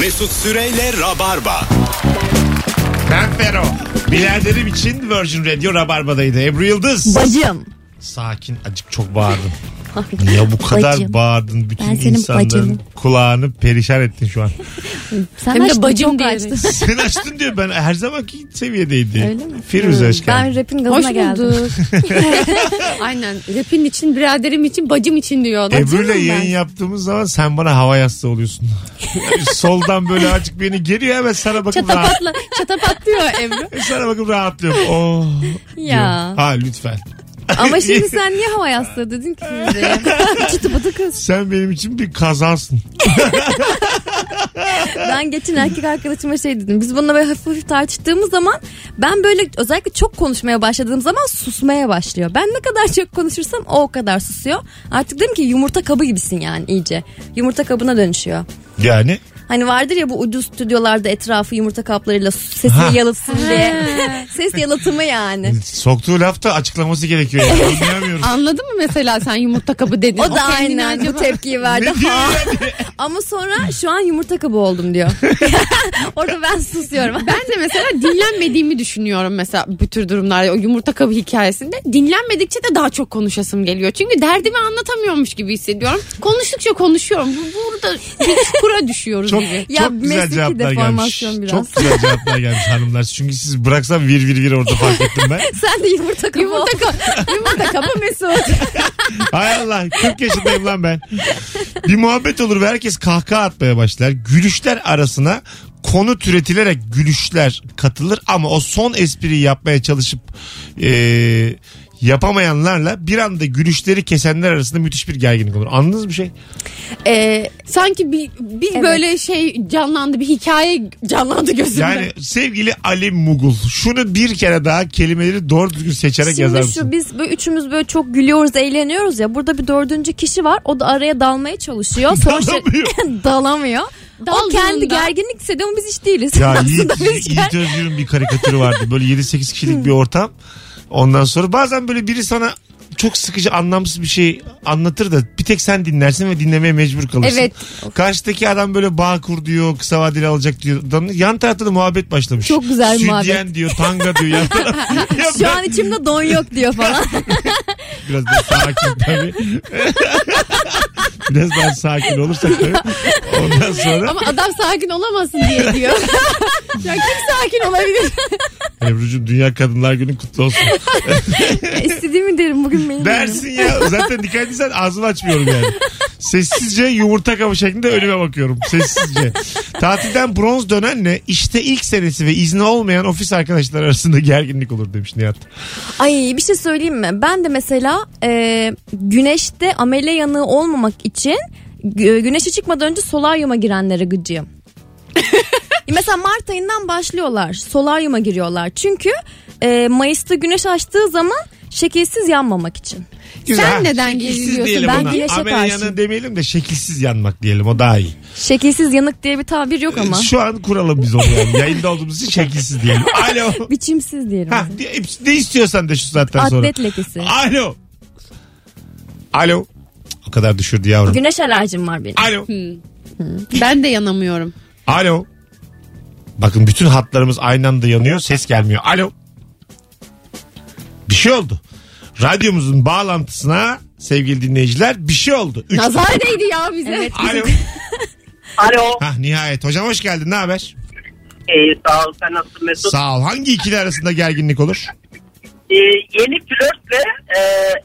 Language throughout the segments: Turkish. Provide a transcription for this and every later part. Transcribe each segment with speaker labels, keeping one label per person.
Speaker 1: Mesut Süreyle Rabarba.
Speaker 2: Ben Fero. Biladerim için Virgin Radio Rabarba'daydı. Ebru Yıldız.
Speaker 3: Bacım.
Speaker 2: Sakin acık çok bağırdın. Ya bu kadar
Speaker 3: Bacım.
Speaker 2: bağırdın bütün
Speaker 3: Ben senin
Speaker 2: insanların
Speaker 3: bacınım.
Speaker 2: kulağını perişan ettin şu an.
Speaker 3: Sen
Speaker 4: Hem
Speaker 3: açtın,
Speaker 4: de bacım
Speaker 3: çok
Speaker 4: diye.
Speaker 3: açtın.
Speaker 2: Sen açtın diyor ben her zamanki seviyedeydi.
Speaker 3: Öyle mi? Hmm,
Speaker 2: Firuze hoş geldin.
Speaker 3: Ben rapin gazına
Speaker 4: Hoş
Speaker 3: geldim.
Speaker 4: bulduk. Aynen. Rapin için, biraderim için, bacım için diyor.
Speaker 2: Ebru'yla
Speaker 4: Bacım
Speaker 2: yayın
Speaker 4: ben.
Speaker 2: yaptığımız zaman sen bana hava yastığı oluyorsun. Soldan böyle azıcık beni geliyor hemen sana bakıp rahat,
Speaker 4: Çatapatla, çatapatlıyor Ebru.
Speaker 2: sana bakıp rahatlıyorum. Oh,
Speaker 4: Ya.
Speaker 2: diyorum. Ha lütfen.
Speaker 4: Ama şimdi sen niye hava yastığı dedin ki şimdi? Çıtı pıtı kız.
Speaker 2: Sen benim için bir kazansın.
Speaker 3: Ben geçen erkek arkadaşıma şey dedim. Biz bununla böyle hafif hafif tartıştığımız zaman ben böyle özellikle çok konuşmaya başladığım zaman susmaya başlıyor. Ben ne kadar çok konuşursam o o kadar susuyor. Artık dedim ki yumurta kabı gibisin yani iyice. Yumurta kabına dönüşüyor.
Speaker 2: Yani
Speaker 3: Hani vardır ya bu ucuz stüdyolarda etrafı yumurta kaplarıyla sesini
Speaker 2: Ha.
Speaker 3: yalıtsın diye. Ses yalıtımı yani.
Speaker 2: soktuğu lafta açıklaması gerekiyor. Yani. Anlayamıyoruz.
Speaker 4: Anladın mı mesela sen yumurta kabı dedin?
Speaker 3: O da
Speaker 4: kendini
Speaker 3: aynen bu
Speaker 4: acaba-
Speaker 3: tepkiyi verdi.
Speaker 2: Ne diyor
Speaker 3: Ha.
Speaker 2: yani?
Speaker 3: Ama sonra şu an yumurta kabı oldum diyor. Orada ben susuyorum.
Speaker 4: Ben de mesela dinlenmediğimi düşünüyorum mesela bu tür durumlarda o yumurta kabı hikayesinde. Dinlenmedikçe de daha çok konuşasım geliyor. Çünkü derdimi anlatamıyormuş gibi hissediyorum. Konuştukça konuşuyorum. Bu- Burada bir çukura düşüyoruz
Speaker 2: Çok,
Speaker 4: gibi.
Speaker 3: Ya
Speaker 2: çok güzel
Speaker 3: mesleki
Speaker 2: cevaplar gelmiş.
Speaker 3: deformasyon biraz.
Speaker 2: Çok güzel cevaplar gelmiş hanımlar. Çünkü siz bıraksam vir vir vir orada fark ettim ben.
Speaker 3: Sen de yumurta kabı oldun.
Speaker 4: Yumurta kabı, yumurta kabı Mesut.
Speaker 2: Hay Allah 40 yaşındayım lan ben. Bir muhabbet olur ve herkes kahkaha atmaya başlar. Gülüşler arasına konu türetilerek gülüşler katılır ama o son espriyi yapmaya çalışıp eee, yapamayanlarla bir anda gülüşleri kesenler arasında müthiş bir gerginlik olur. Anladınız mı şey?
Speaker 3: Ee,
Speaker 4: Sanki bir, bir
Speaker 3: Evet.
Speaker 4: böyle şey canlandı bir hikaye canlandı gözümde.
Speaker 2: Yani sevgili Ali Mugul şunu bir kere daha kelimeleri doğru düzgün seçerek yazar
Speaker 3: şimdi şu
Speaker 2: mısın?
Speaker 3: biz böyle üçümüz böyle çok gülüyoruz, eğleniyoruz ya. Burada bir dördüncü kişi var. O da araya dalmaya çalışıyor. Sonra şey- dalamıyor. o
Speaker 4: Daldığında-
Speaker 3: kendi gerginlik hissediyor ama biz hiç değiliz.
Speaker 2: Ya Yiğit,
Speaker 3: Aslında biz ger-
Speaker 2: Yiğit Özgür'ün bir karikatürü vardı. Böyle 7-8 kişilik bir ortam. Ondan sonra bazen böyle biri sana çok sıkıcı anlamsız bir şey anlatır da bir tek sen dinlersin ve dinlemeye mecbur kalırsın.
Speaker 3: Evet.
Speaker 2: Karşıdaki adam böyle bağ kur diyor, kısa vadeli alacak diyor. Adam- Yan tarafta da muhabbet başlamış.
Speaker 3: Çok güzel
Speaker 2: Sütyen
Speaker 3: muhabbet.
Speaker 2: diyor, tanga diyor. Yan taraf. Ya
Speaker 3: Şu an içimde don yok diyor falan.
Speaker 2: Biraz daha sakin tabii. Biraz daha sakin olursak tabii. Ondan sonra
Speaker 4: Ama adam sakin olamasın diye diyor. ya kim sakin olabilir?
Speaker 2: Ebru'cum Dünya Kadınlar Günü kutlu olsun.
Speaker 3: İstediğimi derim bugün benim.
Speaker 2: Dersin ya. Zaten dikkat etsen ağzımı açmıyorum yani. Sessizce yumurta kabı şeklinde önüme bakıyorum. Sessizce. Tatilden bronz dönenle işte ilk senesi ve izni olmayan ofis arkadaşlar arasında gerginlik olur demiş Nihat.
Speaker 3: Ay bir şey söyleyeyim mi? Ben de mesela e, güneşte amele yanığı olmamak için gü- e, güneşe çıkmadan önce solaryuma girenlere gıcığım. mesela Mart ayından başlıyorlar. Solaryuma giriyorlar. Çünkü e, Mayıs'ta güneş açtığı zaman şekilsiz yanmamak için.
Speaker 4: Sen neden geriliyorsun?
Speaker 3: Ben
Speaker 2: Ben
Speaker 3: güneşe
Speaker 2: Ameliyanı
Speaker 3: karşıyım.
Speaker 2: demeyelim de şekilsiz yanmak diyelim o daha iyi.
Speaker 3: Şekilsiz yanık diye bir tabir yok ama.
Speaker 2: Şu an kuralım biz onu yani. Yayında olduğumuz için şekilsiz diyelim. Alo.
Speaker 3: Biçimsiz diyelim.
Speaker 2: Ha, ne istiyorsan de şu saatten sonra.
Speaker 3: Atlet lekesi.
Speaker 2: Alo. Alo. O kadar düşürdü yavrum.
Speaker 3: Güneş alerjim var benim.
Speaker 2: Alo.
Speaker 4: Ben de yanamıyorum.
Speaker 2: Alo. Bakın bütün hatlarımız aynı anda yanıyor. Ses gelmiyor. Alo. Bir şey oldu. Radyomuzun bağlantısına sevgili dinleyiciler bir şey oldu. Üç.
Speaker 4: Nazar değdi ya bize.
Speaker 2: Alo.
Speaker 5: Alo.
Speaker 2: Hah nihayet. Hocam hoş geldin. Ne haber?
Speaker 5: İyi sağ ol. Sen nasılsın Mesut?
Speaker 2: Sağ ol. Hangi ikili arasında gerginlik olur?
Speaker 5: Ee, yeni flörtle e,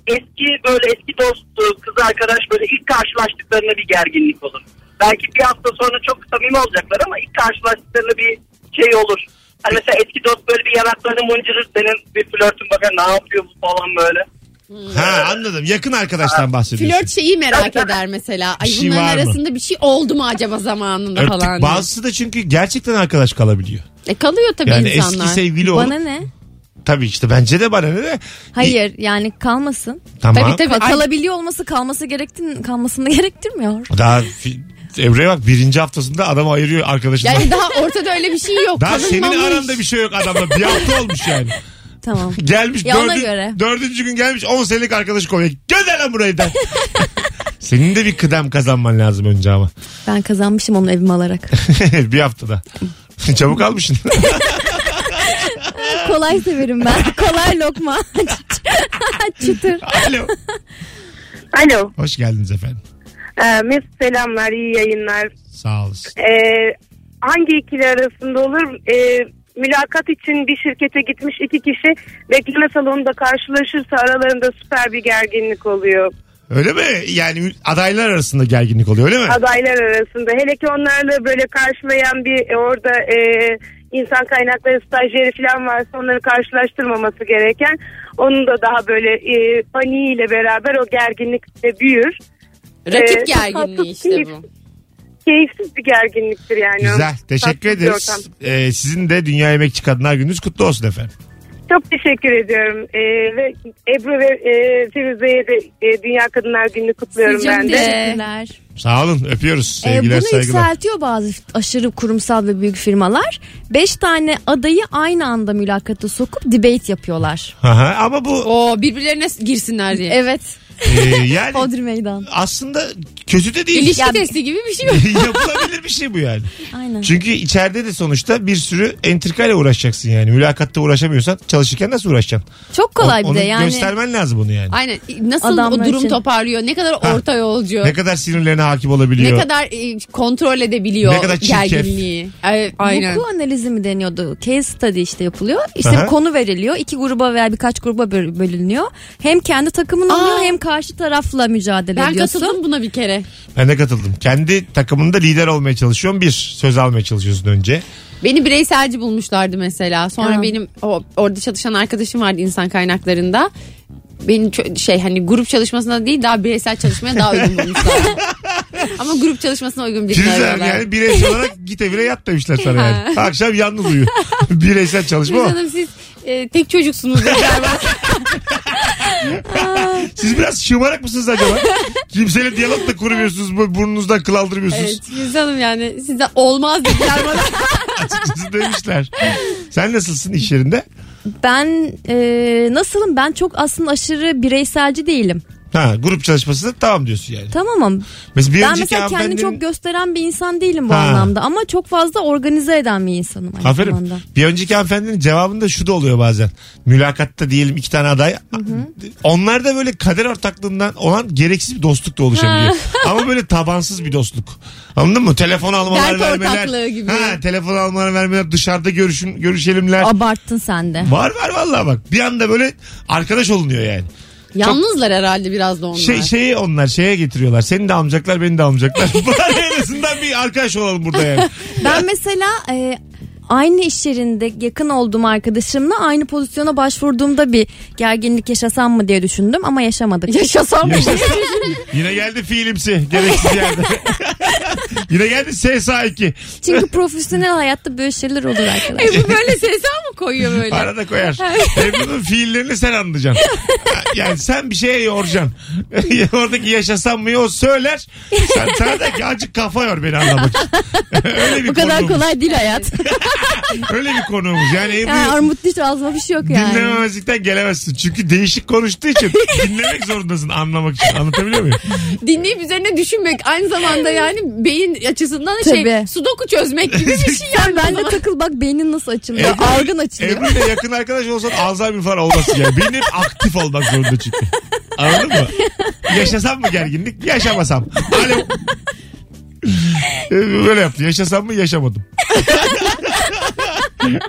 Speaker 5: eski böyle eski dost e, kız arkadaş böyle ilk karşılaştıklarında bir gerginlik olur. Belki bir hafta sonra çok samimi olacaklar ama ilk karşılaştıklarında bir şey olur. Hani mesela eski dost böyle bir yanaklarını mıncırır senin bir flörtün bakar ne yapıyor bu falan böyle.
Speaker 2: Ha anladım. Yakın arkadaştan bahsediyorsun.
Speaker 4: Flört şey- şeyi merak eder mesela. Ay
Speaker 2: Bir şey
Speaker 4: bunların
Speaker 2: var mı?
Speaker 4: arasında bir şey oldu mu acaba zamanında
Speaker 2: Örtük
Speaker 4: falan. diye.
Speaker 2: bazısı da çünkü gerçekten arkadaş kalabiliyor.
Speaker 4: E kalıyor tabii
Speaker 2: Yani
Speaker 4: insanlar.
Speaker 2: eski sevgili olup
Speaker 3: Bana ne?
Speaker 2: tabii işte bence de bana ne de.
Speaker 3: Hayır yani kalmasın.
Speaker 2: Tamam.
Speaker 4: Tabii tabii.
Speaker 3: Bak,
Speaker 4: Ay,
Speaker 3: kalabiliyor olması kalması gerektin kalmasını gerektirmiyor.
Speaker 2: Daha fi- Emre'ye bak birinci haftasında adamı ayırıyor arkadaşından.
Speaker 4: yani daha ortada öyle bir şey yok.
Speaker 2: Daha senin
Speaker 4: Tanınmamış.
Speaker 2: aranda bir şey yok adamla. Bir hafta olmuş yani.
Speaker 3: Tamam.
Speaker 2: Gelmiş
Speaker 3: Ya ona
Speaker 2: dördün-
Speaker 3: göre.
Speaker 2: dördüncü gün gelmiş 10 senelik arkadaşı kovuyor. Gönder lan burayı da. Senin de bir kıdem kazanman lazım önce ama.
Speaker 3: Ben kazanmışım onu evime alarak.
Speaker 2: bir haftada. Çabuk almışsın.
Speaker 3: Kolay severim ben. Kolay lokma. Çıtır.
Speaker 2: Alo.
Speaker 6: Alo.
Speaker 2: Hoş geldiniz efendim.
Speaker 6: Ee, Mesut selamlar, iyi yayınlar.
Speaker 2: Sağ olasın.
Speaker 6: Ee, hangi ikili arasında olur? Ee, mülakat için bir şirkete gitmiş iki kişi bekleme salonunda karşılaşırsa aralarında süper bir gerginlik oluyor.
Speaker 2: Öyle mi? Yani adaylar arasında gerginlik oluyor öyle mi?
Speaker 6: Adaylar arasında. Hele ki onlarla böyle karşılayan bir e, orada e, insan kaynakları stajyeri falan varsa onları karşılaştırmaması gereken. Onun da daha böyle e, paniğiyle beraber o gerginlik de büyür.
Speaker 4: Rakip
Speaker 6: Ee,
Speaker 4: gerginliği işte bu.
Speaker 6: Keyifsiz bir gerginliktir yani.
Speaker 2: Güzel.
Speaker 6: Tatlı
Speaker 2: Teşekkür
Speaker 6: bir ortam.
Speaker 2: ederiz. Ee, sizin de Dünya Emekçi Kadınlar Gününüz kutlu olsun efendim.
Speaker 6: Çok teşekkür ediyorum. Ee, ve Ebru ve e, Firuze'ye de e, Dünya Kadınlar Günü'nü kutluyorum
Speaker 3: Sizce
Speaker 6: ben de.
Speaker 3: teşekkürler.
Speaker 2: Sağ olun. Öpüyoruz.
Speaker 3: Ee,
Speaker 2: Sevgiler,
Speaker 3: bunu
Speaker 2: saygılar.
Speaker 3: yükseltiyor bazı aşırı kurumsal ve büyük firmalar. Beş tane adayı aynı anda mülakata sokup debate yapıyorlar.
Speaker 2: Aha, ama bu
Speaker 4: O birbirlerine girsinler diye.
Speaker 3: Evet.
Speaker 2: e, yani
Speaker 3: Hodri meydan.
Speaker 2: aslında kötü de değil.
Speaker 4: İlişki testi gibi bir şey mi?
Speaker 2: Yapılabilir bir şey bu yani.
Speaker 3: Aynen.
Speaker 2: Çünkü içeride de sonuçta bir sürü entrikayla uğraşacaksın yani. Mülakatta uğraşamıyorsan çalışırken nasıl uğraşacaksın?
Speaker 3: Çok kolay bir
Speaker 2: Onu
Speaker 3: de yani.
Speaker 2: göstermen lazım bunu yani.
Speaker 4: Aynen. Nasıl
Speaker 3: Adamlar
Speaker 4: o durum
Speaker 3: için.
Speaker 4: toparlıyor? Ne kadar
Speaker 2: Ha.
Speaker 4: orta yolcu?
Speaker 2: Ne kadar sinirlerine hakim olabiliyor.
Speaker 4: Ne kadar e, kontrol edebiliyor
Speaker 2: Ne kadar çirkef.
Speaker 4: gerginliği. Ay- Aynen.
Speaker 3: Vuku analizi mi deniyordu? Case study işte yapılıyor. İşte
Speaker 2: Aha.
Speaker 3: bir konu veriliyor. İki gruba veya birkaç gruba böl- bölünüyor. Hem kendi takımın
Speaker 4: Aa.
Speaker 3: oluyor hem karşı tarafla mücadele
Speaker 4: Ben
Speaker 3: ediyorsun.
Speaker 4: katıldım buna bir kere.
Speaker 2: Ben de katıldım. Kendi takımında lider olmaya çalışıyorsun. Bir, söz almaya çalışıyorsun önce.
Speaker 4: Beni bireyselci bulmuşlardı mesela. Sonra
Speaker 3: Ha.
Speaker 4: benim o, orada çalışan arkadaşım vardı insan kaynaklarında. Benim çö- şey hani grup çalışmasına değil daha bireysel çalışmaya daha uygun bulmuşlar. Ama grup çalışmasına uygun birini
Speaker 2: Firuze Hanım
Speaker 4: arıyorlar.
Speaker 2: yani bireysel olarak git evine yat demişler sana yani. Akşam yalnız uyu. bireysel çalışma
Speaker 4: Firuze
Speaker 2: ama
Speaker 4: Hanım siz e, tek çocuksunuz galiba.
Speaker 2: Siz biraz şımarak mısınız acaba? Kimseyle diyalog da kurmuyorsunuz. bu Burnunuzdan kıl aldırmıyorsunuz.
Speaker 4: evet Firuze Hanım yani size olmaz dediler bana.
Speaker 2: Açıkçası demişler. Sen nasılsın iş yerinde?
Speaker 3: Ben e, nasılım? Ben çok aslında aşırı bireyselci değilim.
Speaker 2: Ha, grup çalışması tamam diyorsun yani.
Speaker 3: Tamamım.
Speaker 2: Mesela bir
Speaker 3: Ben
Speaker 2: önceki
Speaker 3: mesela kendini
Speaker 2: hanımefendinin-
Speaker 3: çok gösteren bir insan değilim bu
Speaker 2: Ha.
Speaker 3: anlamda ama çok fazla organize eden bir insanım aynı
Speaker 2: Aferin.
Speaker 3: zamanda.
Speaker 2: Bir önceki hanımefendinin cevabında şu da oluyor bazen. Mülakatta diyelim iki tane aday. Onlar da böyle kader ortaklığından olan gereksiz bir dostluk da oluşabiliyor. Ama böyle tabansız bir dostluk. Anladın mı? Telefon almalar
Speaker 4: Dert
Speaker 2: vermeler.
Speaker 4: ortaklığı gibi.
Speaker 2: Ha, telefon almalar vermeler. Dışarıda görüşün, görüşelimler.
Speaker 3: Abarttın sen de.
Speaker 2: var var vallahi bak. Bir anda böyle arkadaş olunuyor yani.
Speaker 4: Yalnızlar herhalde biraz da onlar.
Speaker 2: Şey, şeyi onlar şeye getiriyorlar. Seni de amcaklar beni de amcaklar. Bari en azından bir arkadaş olalım burada yani.
Speaker 3: Ben mesela e, aynı iş yerinde yakın olduğum arkadaşımla aynı pozisyona başvurduğumda bir gerginlik yaşasam mı diye düşündüm ama yaşamadık.
Speaker 4: Yaşasam
Speaker 2: Yaşasam. Yine geldi fiilimsi gereksiz yerde. Yine geldi SSA2.
Speaker 3: Çünkü profesyonel hayatta böyle şeyler olur arkadaşlar.
Speaker 2: şey-
Speaker 4: bu böyle sesi mı koyuyor böyle?
Speaker 2: Arada koyar. Ebru'nun fiillerini sen anlayacaksın. Yani sen bir şeye yoracaksın. Oradaki yaşasam mı o söyler. Sen sana der ki azıcık kafa yor beni anlamak için. Öyle bir
Speaker 3: Bu kadar
Speaker 2: konuğumuz.
Speaker 3: kolay değil hayat.
Speaker 2: Öyle bir konuğumuz. Yani Ebru
Speaker 3: Yani armut diş ağzıma bir şey yok yani.
Speaker 2: dinlememezlikten gelemezsin. Çünkü değişik konuştuğu için dinlemek zorundasın anlamak için. Anlatabiliyor muyum?
Speaker 4: dinleyip üzerine düşünmek aynı zamanda yani beyin açısından da şey
Speaker 3: Tabii.
Speaker 4: sudoku çözmek gibi bir şey
Speaker 3: Sen
Speaker 4: yani.
Speaker 3: bende takıl bak beynin nasıl açılıyor.
Speaker 2: Ebru-
Speaker 3: Algın açılıyor.
Speaker 2: Ebru'yla yakın arkadaş olsan Alzheimer falan olmasın yani. Benim hep aktif olmak zorunda çünkü. Anladın mı? Yaşasam mı gerginlik? Yaşamasam. Alo. Ebru Böyle yaptı. Yaşasam mı? Yaşamadım.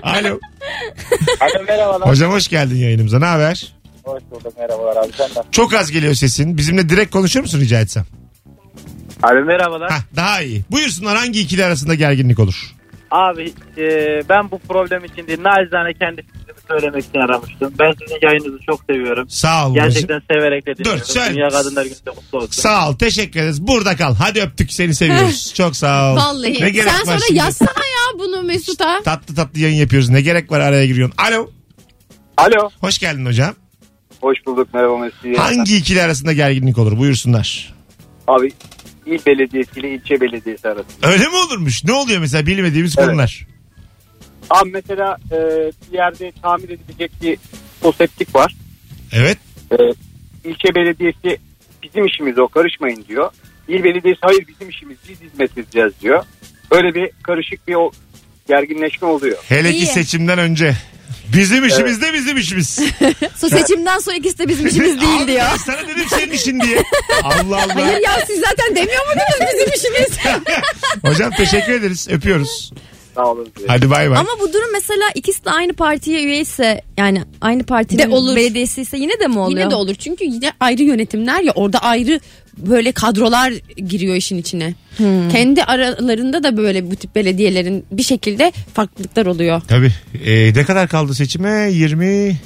Speaker 2: Alo.
Speaker 7: Alo merhabalar.
Speaker 2: Hocam hoş geldin yayınımıza. Ne haber?
Speaker 7: Hoş bulduk merhabalar abi senden.
Speaker 2: Çok az geliyor sesin. Bizimle direkt konuşur musun rica etsem?
Speaker 7: Abi merhabalar.
Speaker 2: Hah, daha iyi. Buyursunlar hangi ikili arasında gerginlik olur?
Speaker 7: Abi e, ben bu problem için değil nacizane kendi fikrimi söylemek için aramıştım. Ben sizin yayınınızı çok seviyorum.
Speaker 2: Sağ ol. Gerçekten.
Speaker 7: Gerçekten severek de dinliyorum.
Speaker 2: söyle.
Speaker 7: Dünya Kadınlar Günü'nde kutlu olsun.
Speaker 2: Sağ ol. Teşekkür ederiz. Burada kal. Hadi öptük. Seni seviyoruz. Çok sağ ol.
Speaker 4: Vallahi.
Speaker 2: Ne gerek
Speaker 4: Sen
Speaker 2: var
Speaker 4: sonra
Speaker 2: şimdi?
Speaker 4: yazsana ya bunu Mesut'a.
Speaker 2: Tatlı tatlı yayın yapıyoruz. Ne gerek var araya giriyorsun. Alo.
Speaker 7: Alo.
Speaker 2: Hoş geldin hocam.
Speaker 7: Hoş bulduk merhaba Mesut.
Speaker 2: Hangi ikili arasında gerginlik olur? Buyursunlar.
Speaker 7: Abi il belediyesi ile ilçe belediyesi arasında.
Speaker 2: Öyle mi olurmuş? Ne oluyor mesela bilmediğimiz
Speaker 7: Evet.
Speaker 2: konular?
Speaker 7: Abi mesela e, bir yerde tamir edilecek bir foseptik var.
Speaker 2: Evet.
Speaker 7: E, ilçe belediyesi
Speaker 8: bizim işimiz o karışmayın diyor. İl belediyesi hayır bizim işimiz biz hizmet edeceğiz diyor. Böyle bir karışık bir o gerginleşme oluyor.
Speaker 2: Hele ki
Speaker 3: İyi.
Speaker 2: seçimden önce. Bizim işimiz de bizim işimiz.
Speaker 3: So seçimden sonra ikisi de bizim işimiz
Speaker 2: Abi
Speaker 3: değil diyor.
Speaker 2: ben Sana dedim senin işin diye. Allah Allah.
Speaker 4: Hayır ya siz zaten demiyor muydunuz bizim işimiz?
Speaker 2: Hocam teşekkür ederiz. Öpüyoruz.
Speaker 8: Sağ olun diye.
Speaker 2: Hadi bay bay.
Speaker 3: Ama bu durum mesela ikisi de aynı partiye üyeyse yani aynı partinin
Speaker 4: De olur.
Speaker 3: belediyesi ise yine de mi oluyor?
Speaker 4: Yine de olur çünkü yine ayrı yönetimler ya orada ayrı böyle kadrolar giriyor işin içine. Kendi aralarında da böyle bu tip belediyelerin bir şekilde farklılıklar oluyor.
Speaker 2: Tabii. Ee, ne kadar kaldı seçime? 20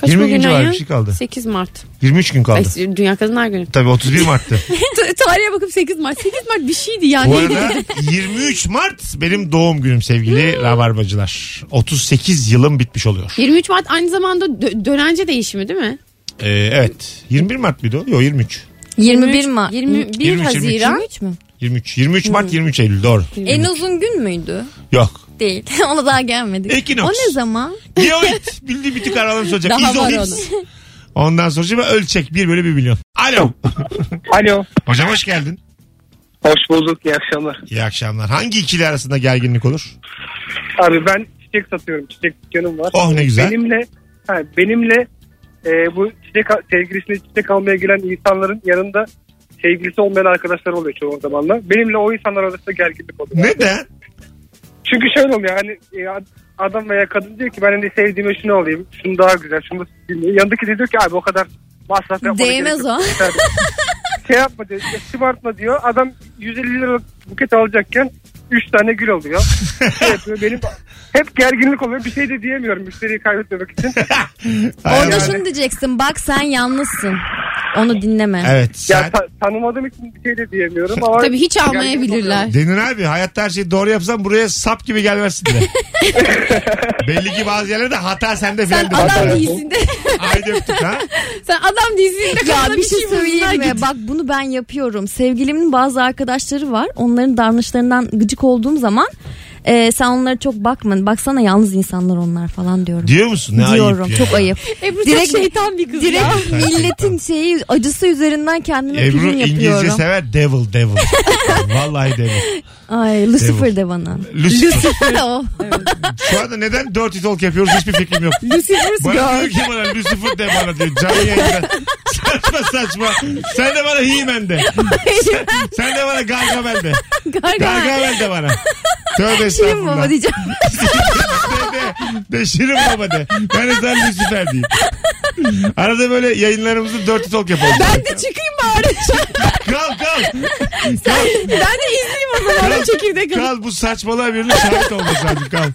Speaker 4: Kaç
Speaker 2: 20
Speaker 4: bugün
Speaker 2: gün civarı
Speaker 4: ayı?
Speaker 2: bir şey kaldı.
Speaker 4: 8 Mart.
Speaker 2: 23 gün
Speaker 4: Ay,
Speaker 2: kaldı.
Speaker 4: Dünya Kadınlar Günü.
Speaker 2: Tabii 31 Mart'tı.
Speaker 4: T- Tarihe bakıp 8 Mart. 8 Mart bir şeydi yani.
Speaker 2: Bu arada 23 Mart benim doğum günüm sevgili
Speaker 4: Hmm.
Speaker 2: rabarbacılar. 38 yılım bitmiş oluyor.
Speaker 4: 23 Mart aynı zamanda dö- dönence değişimi değil mi?
Speaker 2: Ee, evet. 21 Mart mıydı o? Yok 23.
Speaker 3: 21 Mart.
Speaker 4: 21
Speaker 2: 23,
Speaker 4: Haziran.
Speaker 3: 23 mü?
Speaker 2: 23. 23
Speaker 4: Hmm.
Speaker 2: Mart 23 Eylül doğru.
Speaker 3: En uzun gün müydü?
Speaker 2: Yok.
Speaker 3: Değil. Ona daha gelmedik.
Speaker 2: Ekinoks.
Speaker 3: O ne zaman?
Speaker 2: Geoid. Bildi bir tık aralığını soracak.
Speaker 4: Daha var
Speaker 2: İzohips. Ondan sonra şimdi ölçek 1 bölü 1 milyon. Alo.
Speaker 9: Alo.
Speaker 2: Hocam hoş geldin.
Speaker 9: Hoş bulduk. İyi akşamlar.
Speaker 2: İyi akşamlar. Hangi ikili arasında gerginlik olur?
Speaker 9: Abi ben çiçek satıyorum. Çiçek dükkanım var.
Speaker 2: Oh ne güzel.
Speaker 9: Benimle ha, benimle e, bu çiçek sevgilisine çiçek almaya gelen insanların yanında sevgilisi olmayan arkadaşlar oluyor çoğu zamanla. Benimle o insanlar arasında gerginlik oluyor.
Speaker 2: Neden?
Speaker 9: Çünkü şöyle oluyor hani e, ad- adam veya kadın diyor ki ben hani sevdiğime şunu alayım. Şunu daha güzel. Şunu bilmiyorum. Yanındaki de diyor ki abi o kadar masraf yapmana gerek
Speaker 3: Değmez
Speaker 9: yok.
Speaker 3: o.
Speaker 9: şey yapma diyor. işte Şımartma diyor. Adam 150 liralık buket alacakken 3 tane gül alıyor. Şey yapıyor, benim hep gerginlik oluyor. Bir şey de diyemiyorum müşteriyi kaybetmemek için.
Speaker 2: Hay
Speaker 3: Orada
Speaker 2: Allah.
Speaker 3: şunu diyeceksin. Bak sen yalnızsın. Onu dinleme.
Speaker 2: Evet.
Speaker 9: Ya
Speaker 2: Sen...
Speaker 9: ta- tanımadığım için bir şey de diyemiyorum ama
Speaker 4: Tabii hiç almayabilirler.
Speaker 2: Denir abi hayatta her şeyi doğru yapsan buraya sap gibi gelmezsin de. Belli ki bazı yerlerde hata sende
Speaker 4: Sen
Speaker 2: filan. de.
Speaker 4: adam değilsin de.
Speaker 2: Haydi öptük ha.
Speaker 4: Sen adam değilsin de.
Speaker 3: Ya
Speaker 4: kadına
Speaker 3: bir şey
Speaker 4: bulsunlar
Speaker 3: söyleyeyim mi?
Speaker 4: git.
Speaker 3: Bak bunu ben yapıyorum. Sevgilimin bazı arkadaşları var. Onların davranışlarından gıcık olduğum zaman e, sen onlara çok bakma. Baksana yalnız insanlar onlar falan diyorum.
Speaker 2: Diyor musun? Ne
Speaker 3: Diyorum.
Speaker 2: ayıp ya.
Speaker 3: çok ayıp.
Speaker 4: Ebru
Speaker 3: Direkt-
Speaker 4: çok şeytan bir kız ya.
Speaker 3: Direkt milletin şeyi acısı üzerinden kendime
Speaker 2: Ebru
Speaker 3: prim
Speaker 2: İngilizce
Speaker 3: yapıyorum.
Speaker 2: sever devil devil. Vallahi devil.
Speaker 3: Ay Lucifer de bana.
Speaker 2: Lucifer.
Speaker 3: O.
Speaker 2: Şu anda neden dirty talk yapıyoruz hiçbir fikrim yok.
Speaker 4: Lucifer's
Speaker 2: Bana diyor
Speaker 4: girl.
Speaker 2: ki bana Lucifer de bana diyor. Canlı yayında. saçma saçma. Sen de bana He-Man de. sen, sen de bana Gargamel de. Gargamel de bana. Tövbe
Speaker 3: Şirin
Speaker 2: estağfurullah.
Speaker 3: baba diyeceğim.
Speaker 2: de, de, de şirin baba de. Ben de sen Lucifer diyeyim. Arada böyle yayınlarımızı dirty talk yapalım.
Speaker 4: Ben de çıkayım bari.
Speaker 2: Kal kal.
Speaker 4: ben de izleyeyim o zaman. Ben çekirdek alayım.
Speaker 2: Kal bu saçmalığa birinin şahit olması lazım kal.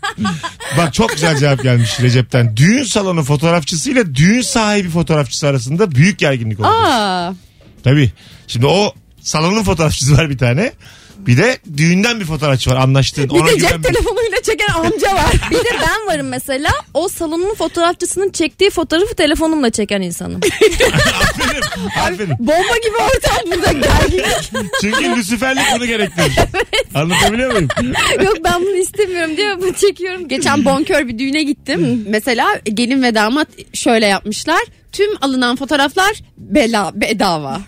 Speaker 2: Bak çok güzel cevap gelmiş Recep'ten. Düğün salonu fotoğrafçısıyla düğün sahibi fotoğrafçısı arasında büyük gerginlik oldu.
Speaker 4: Aa.
Speaker 2: Tabii. Şimdi o salonun fotoğrafçısı var bir tane. Bir de düğünden bir fotoğrafçı var anlaştığın.
Speaker 4: Bir
Speaker 2: Ona
Speaker 4: de
Speaker 2: güven
Speaker 4: cep telefonuyla çeken amca var.
Speaker 3: Bir de ben varım mesela. O salonun fotoğrafçısının çektiği fotoğrafı telefonumla çeken insanım.
Speaker 2: Aferin. Aferin.
Speaker 4: Bomba gibi ortam burada gerginlik.
Speaker 2: Çünkü Lucifer'lik bunu gerektirir. Anlatabiliyor muyum?
Speaker 3: Yok ben bunu istemiyorum diye bunu çekiyorum.
Speaker 4: Geçen bonkör bir düğüne gittim. Mesela gelin ve damat şöyle yapmışlar. Tüm alınan fotoğraflar bela, bedava.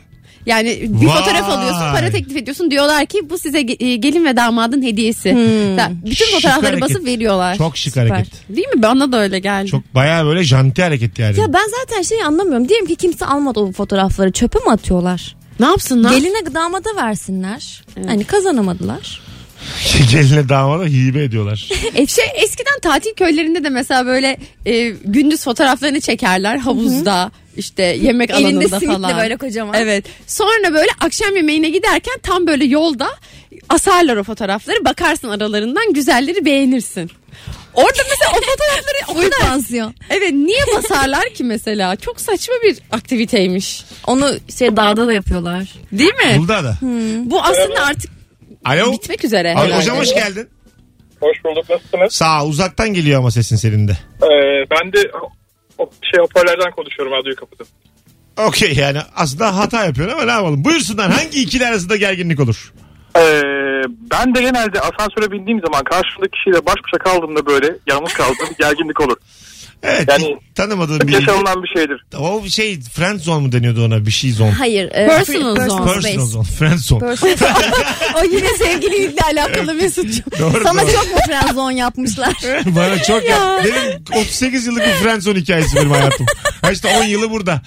Speaker 4: Yani bir
Speaker 2: Vay.
Speaker 4: fotoğraf alıyorsun para teklif ediyorsun diyorlar ki bu size ge- e, gelin ve damadın hediyesi.
Speaker 3: Hmm.
Speaker 4: Yani Bütün
Speaker 2: Şık
Speaker 4: fotoğrafları
Speaker 2: hareket.
Speaker 4: basıp veriyorlar.
Speaker 2: Çok şık
Speaker 3: Süper.
Speaker 2: hareket.
Speaker 4: Değil mi? Bana da öyle geldi.
Speaker 2: Çok bayağı böyle janti hareket yani.
Speaker 3: Ya ben zaten şeyi anlamıyorum. Diyelim ki kimse almadı o fotoğrafları. Çöpe mi atıyorlar?
Speaker 4: Ne yapsınlar?
Speaker 3: Geline damada versinler. Hani kazanamadılar.
Speaker 2: Geline damada hibe ediyorlar.
Speaker 4: E, şey eskiden tatil köylerinde de mesela böyle e, gündüz fotoğraflarını çekerler havuzda işte yemek
Speaker 3: Elinde
Speaker 4: alanında
Speaker 3: simitle
Speaker 4: falan.
Speaker 3: böyle kocaman.
Speaker 4: Evet. Sonra böyle akşam yemeğine giderken tam böyle yolda asarlar o fotoğrafları. Bakarsın aralarından güzelleri beğenirsin. Orada mesela o fotoğrafları o
Speaker 3: Oy
Speaker 4: kadar
Speaker 3: pansiyon.
Speaker 4: Evet niye basarlar ki mesela? Çok saçma bir aktiviteymiş.
Speaker 3: Onu şey dağda da yapıyorlar.
Speaker 4: Değil mi?
Speaker 2: Bulda da.
Speaker 4: Bu aslında artık
Speaker 2: Alo.
Speaker 4: bitmek üzere.
Speaker 2: Abi,
Speaker 4: Hmm. herhalde.
Speaker 2: hocam hoş geldin.
Speaker 9: Hoş bulduk nasılsınız? Ee,
Speaker 2: Sağ uzaktan geliyor ama sesin senin de.
Speaker 9: ben de şey hoparlardan konuşuyorum radyoyu kapatıp.
Speaker 2: Okey yani aslında hata yapıyorsun ama ne yapalım. Buyursunlar hangi ikili arasında gerginlik olur?
Speaker 9: Ee, ben de genelde asansöre bindiğim zaman karşımdaki kişiyle baş başa kaldığımda böyle yalnız kaldığım gerginlik olur.
Speaker 2: Evet.
Speaker 8: Yani-
Speaker 2: tanımadığım bir
Speaker 8: Yaşanılan bir şeydir.
Speaker 2: O şey friend zone mu deniyordu ona? Bir şey zone.
Speaker 3: Hayır. e,
Speaker 4: Personal
Speaker 3: fr-
Speaker 4: zone.
Speaker 3: space.
Speaker 2: Personal zone. Friend zone.
Speaker 3: Personal-
Speaker 4: O yine sevgililikle alakalı Mesut'cum.
Speaker 2: Doğru
Speaker 3: Sana
Speaker 2: doğru.
Speaker 3: çok mu friend zone yapmışlar?
Speaker 2: Bana çok ya. Benim 38 yıllık bir friend zone hikayesi benim hayatım. Ha işte 10 yılı burada.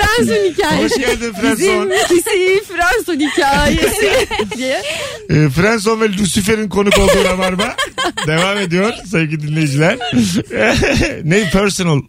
Speaker 4: Fransız
Speaker 2: Hoş
Speaker 4: hikayesi.
Speaker 2: geldin friend
Speaker 4: Bizim
Speaker 2: zone.
Speaker 4: ikisi Fransız hikayesi diye.
Speaker 2: Ee, friend zone ve Lucifer'in konuk olduğu Rabarba. Devam ediyor sevgili dinleyiciler. ne personal?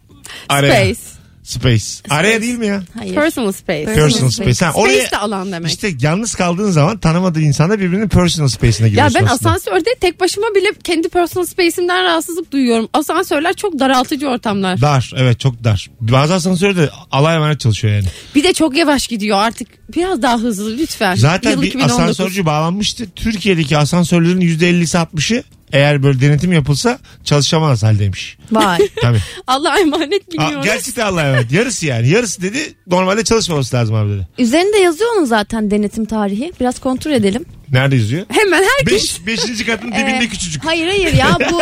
Speaker 2: Araya.
Speaker 4: Space.
Speaker 2: Space. Araya değil mi ya?
Speaker 3: Hayır.
Speaker 4: Personal space.
Speaker 3: Personal
Speaker 2: Personal space.
Speaker 3: space.
Speaker 2: Ha,
Speaker 4: Space
Speaker 2: oraya
Speaker 4: de alan demek.
Speaker 2: işte yalnız kaldığın zaman tanımadığı insana birbirinin personal space'ine
Speaker 4: ya
Speaker 2: giriyorsun.
Speaker 4: ben
Speaker 2: aslında.
Speaker 4: asansörde tek başıma bile kendi personal space'imden rahatsızlık duyuyorum. Asansörler çok daraltıcı ortamlar.
Speaker 2: Dar evet çok dar. Bazı asansörde de alay emanet çalışıyor yani.
Speaker 4: Bir de çok yavaş gidiyor artık. Biraz daha hızlı lütfen.
Speaker 2: Zaten
Speaker 4: Yıl
Speaker 2: bir
Speaker 4: 2019.
Speaker 2: asansörcü bağlanmıştı. Türkiye'deki asansörlerin %50'si 60'ı eğer böyle denetim yapılsa çalışamaz haldeymiş.
Speaker 3: Vay.
Speaker 2: Tabii.
Speaker 4: Allah'a emanet
Speaker 2: Aa,
Speaker 4: biliyorum.
Speaker 2: gerçekten Allah evet. Yarısı yani. Yarısı dedi normalde çalışmaması lazım abi dedi.
Speaker 3: Üzerinde yazıyor onun zaten denetim tarihi. Biraz kontrol edelim.
Speaker 2: Nerede yazıyor?
Speaker 4: Hemen herkes
Speaker 2: Beş, beşinci katın dibinde
Speaker 3: Ee,
Speaker 2: küçücük.
Speaker 3: Hayır hayır ya bu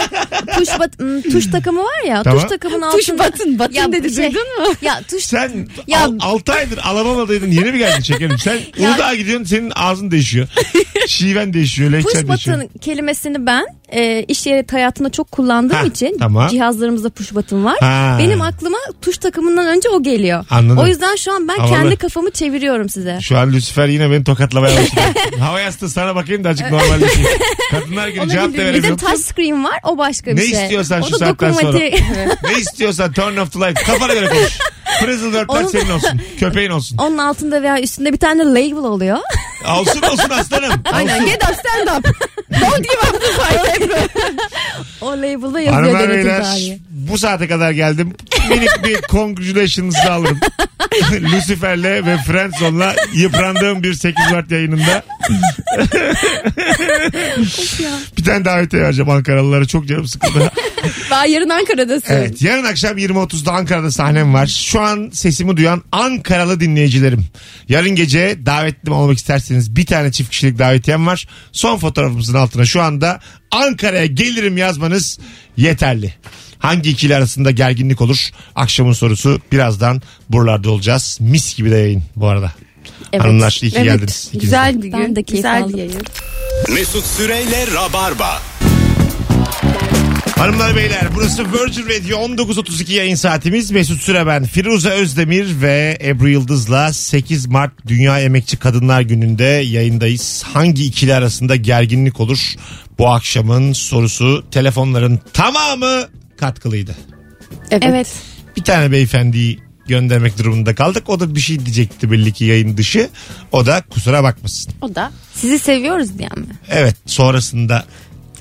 Speaker 3: tuş bat- ım, tuş takımı var ya.
Speaker 2: Tamam.
Speaker 3: Tuş takımın altında.
Speaker 4: tuş batın batın
Speaker 3: Ya
Speaker 4: dedi
Speaker 3: şey-
Speaker 4: duydun mu?
Speaker 3: Ya tuş
Speaker 2: Sen
Speaker 3: Ya-
Speaker 2: 6 aydır alamamadaydın yeni mi geldin şekerim? Sen Uludağ'a gidiyorsun senin ağzın değişiyor. Şiven değişiyor,
Speaker 3: Push
Speaker 2: lehçen değişiyor.
Speaker 3: button kelimesini ben e, iş yeri hayatında çok kullandığım
Speaker 2: Ha,
Speaker 3: için
Speaker 2: tamam.
Speaker 3: cihazlarımızda push button var.
Speaker 2: Ha.
Speaker 3: Benim aklıma tuş takımından önce o geliyor.
Speaker 2: Anladım.
Speaker 3: O yüzden şu an ben
Speaker 2: Havalı.
Speaker 3: kendi kafamı çeviriyorum size.
Speaker 2: Şu an Lucifer yine beni tokatlamaya başladı. Hava yastığı sana bakayım da azıcık normalleşeyim. Kadınlar günü cevap da
Speaker 3: Bir de
Speaker 2: veremiyorum.
Speaker 3: touch screen var o başka bir
Speaker 2: Ne
Speaker 3: şey.
Speaker 2: istiyorsan
Speaker 3: o
Speaker 2: şu
Speaker 3: da
Speaker 2: saatten sonra.
Speaker 3: dokunmatik.
Speaker 2: Ne istiyorsan turn off the light. Kafana göre konuş. Frizzle dörtler
Speaker 3: Onun-
Speaker 2: senin olsun. Köpeğin olsun.
Speaker 3: Onun altında veya üstünde bir tane label oluyor.
Speaker 2: Olsun olsun aslanım.
Speaker 4: Aynen
Speaker 2: Olsun.
Speaker 4: get up stand up. Don't give up the fight.
Speaker 3: o label'da yazıyor
Speaker 2: Hanımlar
Speaker 3: denetim
Speaker 2: beyler
Speaker 3: tarihi.
Speaker 2: bu saate kadar geldim. Minik bir congratulations'ı alırım. Lucifer'le ve Friendzone'la yıprandığım bir 8 Mart yayınında. bir tane davetiye vereceğim Ankaralılara. Çok canım sıkıldı.
Speaker 4: Ben yarın Ankara'dasın.
Speaker 2: Evet yarın akşam 20.30'da Ankara'da sahnem var. Şu an sesimi duyan Ankaralı dinleyicilerim. Yarın gece davetli olmak isterseniz bir tane çift kişilik davetiyem var. Son fotoğrafımızın altına şu anda Ankara'ya gelirim yazmanız yeterli. Hangi ikili arasında gerginlik olur? Akşamın sorusu birazdan buralarda olacağız. Mis gibi de yayın bu arada.
Speaker 3: Evet.
Speaker 2: Hanımlar iyi ki
Speaker 4: Evet,
Speaker 2: geldiniz. İkiniz de.
Speaker 4: Güzel bir gün.
Speaker 3: Ben de keyif
Speaker 4: güzel
Speaker 3: aldım.
Speaker 4: yayın.
Speaker 1: Mesut Süreyle Rabarba.
Speaker 2: Hanımlar beyler burası Virgin Radio 19.32 yayın saatimiz. Mesut Süre ben Firuze Özdemir ve Ebru Yıldız'la 8 Mart Dünya Emekçi Kadınlar Günü'nde yayındayız. Hangi ikili arasında gerginlik olur? Bu akşamın sorusu telefonların tamamı katkılıydı.
Speaker 4: Evet.
Speaker 3: Evet.
Speaker 2: Bir tane beyefendiyi göndermek durumunda kaldık. O da bir şey diyecekti belli ki yayın dışı. O da kusura bakmasın.
Speaker 4: O da
Speaker 3: Sizi seviyoruz diye mi?
Speaker 2: Evet sonrasında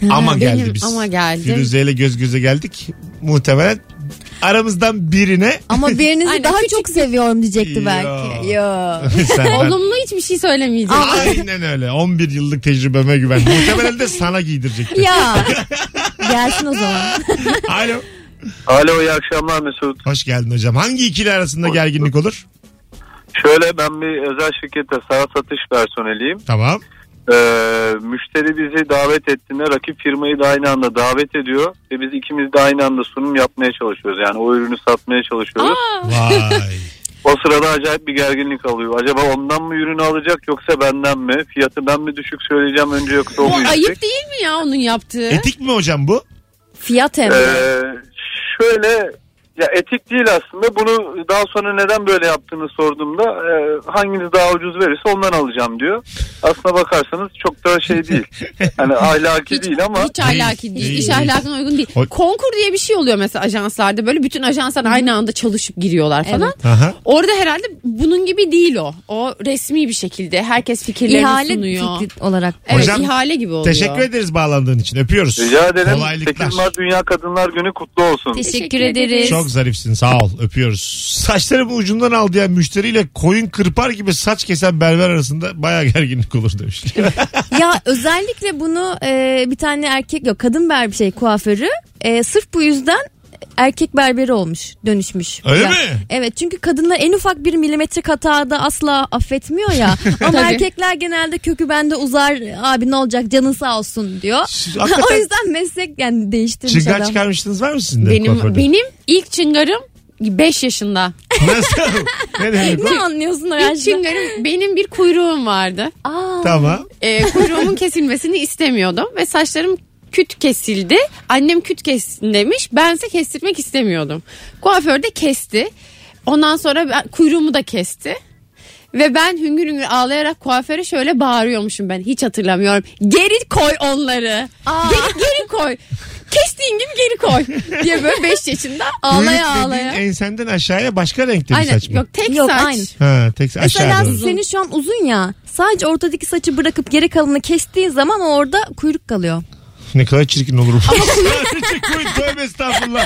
Speaker 2: ama
Speaker 4: benim
Speaker 2: geldi biz.
Speaker 4: ama geldi.
Speaker 2: Firuze ile göz göze geldik. Muhtemelen aramızdan birine
Speaker 3: Ama birinizi
Speaker 4: Aynen,
Speaker 3: daha
Speaker 4: küçük
Speaker 3: çok seviyorum diyecekti
Speaker 2: Yo.
Speaker 3: belki. Yo.
Speaker 2: senden.
Speaker 4: olumlu hiçbir şey söylemeyecek.
Speaker 2: Aynen öyle. 11 yıllık tecrübeme güven. Muhtemelen de sana giydirecekti.
Speaker 3: ya. Gelsin o zaman.
Speaker 2: Alo.
Speaker 8: Alo iyi akşamlar Mesut.
Speaker 2: Hoş geldin hocam. Hangi ikili arasında gerginlik olur?
Speaker 8: Şöyle ben bir özel şirkette saat satış personeliyim.
Speaker 2: Tamam.
Speaker 8: Ee, müşteri bizi davet ettiğinde rakip firmayı da aynı anda davet ediyor ve biz ikimiz de aynı anda sunum yapmaya çalışıyoruz. Yani o ürünü satmaya çalışıyoruz.
Speaker 2: Vay.
Speaker 8: O sırada acayip bir gerginlik alıyor. Acaba ondan mı ürünü alacak yoksa benden mi? Fiyatı ben mi düşük söyleyeceğim önce yoksa o
Speaker 4: Bu
Speaker 8: mu yüksek?
Speaker 4: ayıp değil mi ya onun yaptığı?
Speaker 2: Etik mi hocam bu?
Speaker 3: Fiyat hem. de.
Speaker 8: Ee, şöyle ya etik değil aslında. Bunu daha sonra neden böyle yaptığını sorduğumda e, hanginiz daha ucuz verirse ondan alacağım diyor. Aslına bakarsanız çok da şey değil. Hani ahlaki
Speaker 4: Hiç,
Speaker 8: değil ama
Speaker 4: hiç ahlaki değil.
Speaker 2: Değil,
Speaker 4: iş
Speaker 2: değil.
Speaker 4: ahlakına uygun değil.
Speaker 2: O-
Speaker 4: Konkur diye bir şey oluyor mesela ajanslarda. Böyle bütün ajanslar aynı anda çalışıp giriyorlar falan.
Speaker 2: Aha.
Speaker 4: Orada herhalde bunun gibi değil o. O resmi bir şekilde herkes fikirlerini
Speaker 3: İhale
Speaker 4: sunuyor.
Speaker 3: fikri olarak.
Speaker 4: Evet
Speaker 2: Hocam,
Speaker 4: ihale gibi oluyor.
Speaker 2: Teşekkür ederiz bağlandığın için. Öpüyoruz.
Speaker 8: rica ederim.
Speaker 2: Kolaylıklar.
Speaker 8: 8 Mart Dünya Kadınlar Günü kutlu olsun.
Speaker 3: Teşekkür,
Speaker 4: Teşekkür
Speaker 3: ederiz.
Speaker 4: ederiz.
Speaker 2: Çok zarifsin sağ ol öpüyoruz. Saçlarımı ucundan aldı ya müşteriyle koyun kırpar gibi saç kesen berber arasında baya gerginlik olur demiş.
Speaker 3: ya özellikle bunu e, bir tane erkek yok kadın bir şey kuaförü e, sırf bu yüzden erkek berberi olmuş dönüşmüş.
Speaker 2: Öyle
Speaker 3: Ya.
Speaker 2: mi?
Speaker 3: Evet çünkü kadınlar en ufak bir milimetrik hatada asla affetmiyor ya. Ama
Speaker 4: Tabii.
Speaker 3: erkekler genelde kökü bende uzar abi ne olacak canın sağ olsun diyor.
Speaker 2: Siz
Speaker 3: o
Speaker 2: hakikaten-
Speaker 3: yüzden meslek yani değiştirmiş
Speaker 2: Çıngar
Speaker 3: adam.
Speaker 2: çıkarmıştınız var mı sizin de
Speaker 4: Benim
Speaker 2: kuaförde?
Speaker 4: benim ilk çıngarım 5 yaşında.
Speaker 2: Nasıl? ne demek o?
Speaker 3: Ne anlıyorsun o
Speaker 4: İlk
Speaker 3: yaşta?
Speaker 4: çıngarım benim bir kuyruğum vardı.
Speaker 3: Aa,
Speaker 2: Tamam.
Speaker 4: Ee, kuyruğumun kesilmesini istemiyordum ve saçlarım küt kesildi. Annem küt kessin demiş. Bense kestirmek istemiyordum. Kuaför de kesti. Ondan sonra ben- kuyruğumu da kesti. Ve ben hüngür hüngür ağlayarak kuaföre şöyle bağırıyormuşum ben. Hiç hatırlamıyorum. Geri koy onları. Geri, geri koy. Kestiğin gibi geri koy. diye böyle 5 yaşında ağlaya
Speaker 2: Kuyruk dediğin
Speaker 4: ağlaya.
Speaker 2: ensenden aşağıya başka renkte bir
Speaker 4: Aynen.
Speaker 2: saç mı?
Speaker 4: Yok tek
Speaker 3: Yok,
Speaker 4: saç.
Speaker 3: aynı.
Speaker 2: Ha, tek aşağı
Speaker 3: Mesela
Speaker 2: doğru.
Speaker 3: senin şu an uzun ya. Sadece ortadaki saçı bırakıp geri kalanını kestiğin zaman orada kuyruk kalıyor.
Speaker 2: Ne kadar çirkin olurum. Sadece kuyruk tövbe estağfurullah.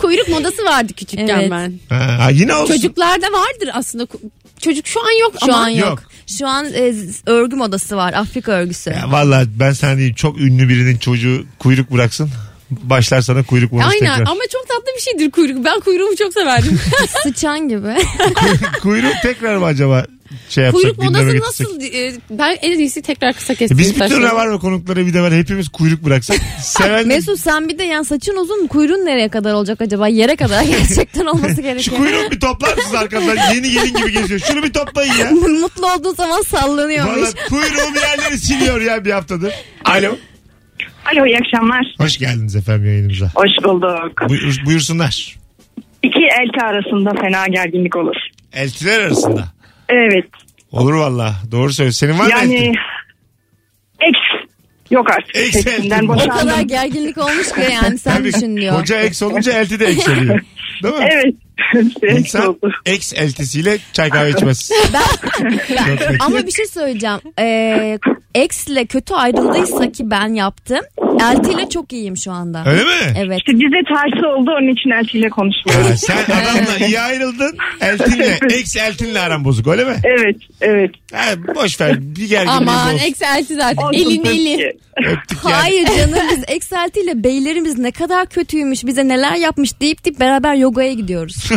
Speaker 4: Kuyruk modası vardı küçükken
Speaker 3: Evet.
Speaker 4: ben.
Speaker 2: Ha, yine olsun.
Speaker 4: Çocuklarda vardır aslında. Ku- Çocuk şu an yok
Speaker 3: Şu
Speaker 4: ama.
Speaker 3: an yok.
Speaker 2: Yok.
Speaker 3: Şu an e, z- örgü modası var. Afrika örgüsü.
Speaker 2: Ya Valla ben sana diyeyim çok ünlü birinin çocuğu kuyruk bıraksın. Başlar sana kuyruk bulmuş
Speaker 4: Aynen
Speaker 2: tekrar.
Speaker 4: ama çok tatlı bir şeydir kuyruk. Ben kuyruğumu çok severdim.
Speaker 3: Sıçan gibi.
Speaker 2: Kuyruk tekrar mı acaba şey yapsak?
Speaker 4: kuyruk modası
Speaker 2: gündeme getirsek?
Speaker 4: nasıl? e, Ben en iyisi tekrar kısa
Speaker 2: E
Speaker 4: kestim.
Speaker 2: Biz bir tür
Speaker 4: saçlarımı.
Speaker 2: var konukları bir de var hepimiz kuyruk bıraksak. Seven
Speaker 3: Mesut sen bir de yani saçın uzun kuyruğun nereye kadar olacak acaba? Yere kadar gerçekten olması
Speaker 2: Şu
Speaker 3: gerekiyor.
Speaker 2: kuyruğu bir toplar mısınız arkamdan? Yeni gelin gibi geziyor. Şunu bir toplayın ya.
Speaker 3: Mutlu olduğu zaman sallanıyormuş.
Speaker 2: Valla kuyruğum yerleri siliyor ya bir haftadır. Alo.
Speaker 6: Alo iyi akşamlar.
Speaker 2: Hoş geldiniz efendim yayınımıza.
Speaker 6: Hoş bulduk.
Speaker 2: Buyur- buyursunlar.
Speaker 6: İki elti arasında fena gerginlik olur.
Speaker 2: Eltiler arasında.
Speaker 6: Evet.
Speaker 2: Olur valla. Doğru söylüyorsun. Senin var mı
Speaker 6: Yani
Speaker 2: eltin?
Speaker 6: eks yok artık.
Speaker 2: Eks
Speaker 6: Seksinden
Speaker 2: elti.
Speaker 3: O kadar
Speaker 6: boşandım.
Speaker 3: gerginlik olmuş ki yani sen
Speaker 2: Tabii,
Speaker 3: düşün diyor.
Speaker 2: Koca eks olunca elti de eksiliyor. Değil mi?
Speaker 6: Evet. Eks
Speaker 2: İnsan
Speaker 6: oldu.
Speaker 2: eks eltisiyle çay kahve içmez. Çok kötü.
Speaker 3: Ama bir şey söyleyeceğim. Ee, ex'le kötü ayrıldıysa ki ben yaptım. Eltiyle çok iyiyim şu anda.
Speaker 2: Öyle mi?
Speaker 3: Evet.
Speaker 6: İşte bize tersi oldu onun için elçiyle konuşmuyoruz.
Speaker 2: Ha, sen adamla iyi ayrıldın. Eltinle, eks eltinle aran bozuk öyle mi?
Speaker 6: Evet, evet.
Speaker 2: Ha, boş ver bir gerginliğimiz
Speaker 4: Aman
Speaker 2: olsun.
Speaker 4: ekselti zaten.
Speaker 6: Olsun
Speaker 4: elin
Speaker 6: tabii
Speaker 4: eli.
Speaker 6: ki.
Speaker 2: Öptük yani.
Speaker 3: Hayır canım biz ekseltiyle beylerimiz ne kadar kötüymüş bize neler yapmış deyip deyip beraber yogaya gidiyoruz.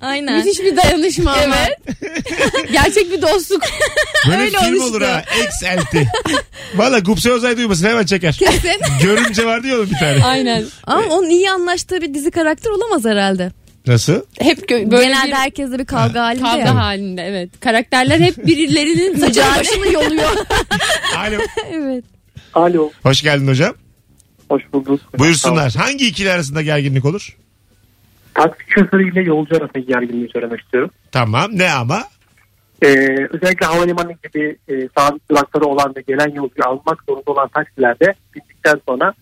Speaker 3: Aynen.
Speaker 4: Müthiş bir dayanışma ama. Gerçek bir dostluk.
Speaker 2: Böyle
Speaker 4: Öyle
Speaker 2: film
Speaker 4: oluştu.
Speaker 2: olur ha. Eks elti. Valla Gupse Ozay duymasın hemen çeker.
Speaker 4: şey.
Speaker 3: Kesin.
Speaker 2: Görümce var diyor bir tane.
Speaker 4: Aynen.
Speaker 3: Ama onun iyi anlaştığı bir dizi karakter olamaz herhalde.
Speaker 2: Nasıl?
Speaker 4: Hep gö- böyle
Speaker 3: Genelde
Speaker 4: bir
Speaker 3: herkesle bir kavga halinde
Speaker 4: kavga
Speaker 3: ya.
Speaker 4: halinde evet. Karakterler hep birilerinin saçını yoluyor.
Speaker 2: Alo.
Speaker 3: Evet.
Speaker 9: Alo.
Speaker 2: Hoş geldin hocam.
Speaker 9: Hoş bulduk.
Speaker 2: Buyursunlar. Hangi ikili arasında gerginlik olur?
Speaker 9: Taksi şoförüyle yolcu arasındaki gerginliği söylemek istiyorum.
Speaker 2: Tamam. Ne ama?
Speaker 9: Ee, özellikle havalimanı gibi e, sabit durakları olan ve gelen yolcuyu almak zorunda olan taksilerde bindikten sonra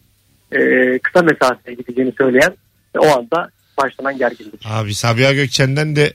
Speaker 9: e, kısa mesafeye gideceğini söyleyen e, o anda başlanan gerginlik.
Speaker 2: Abi Sabiha Gökçen'den de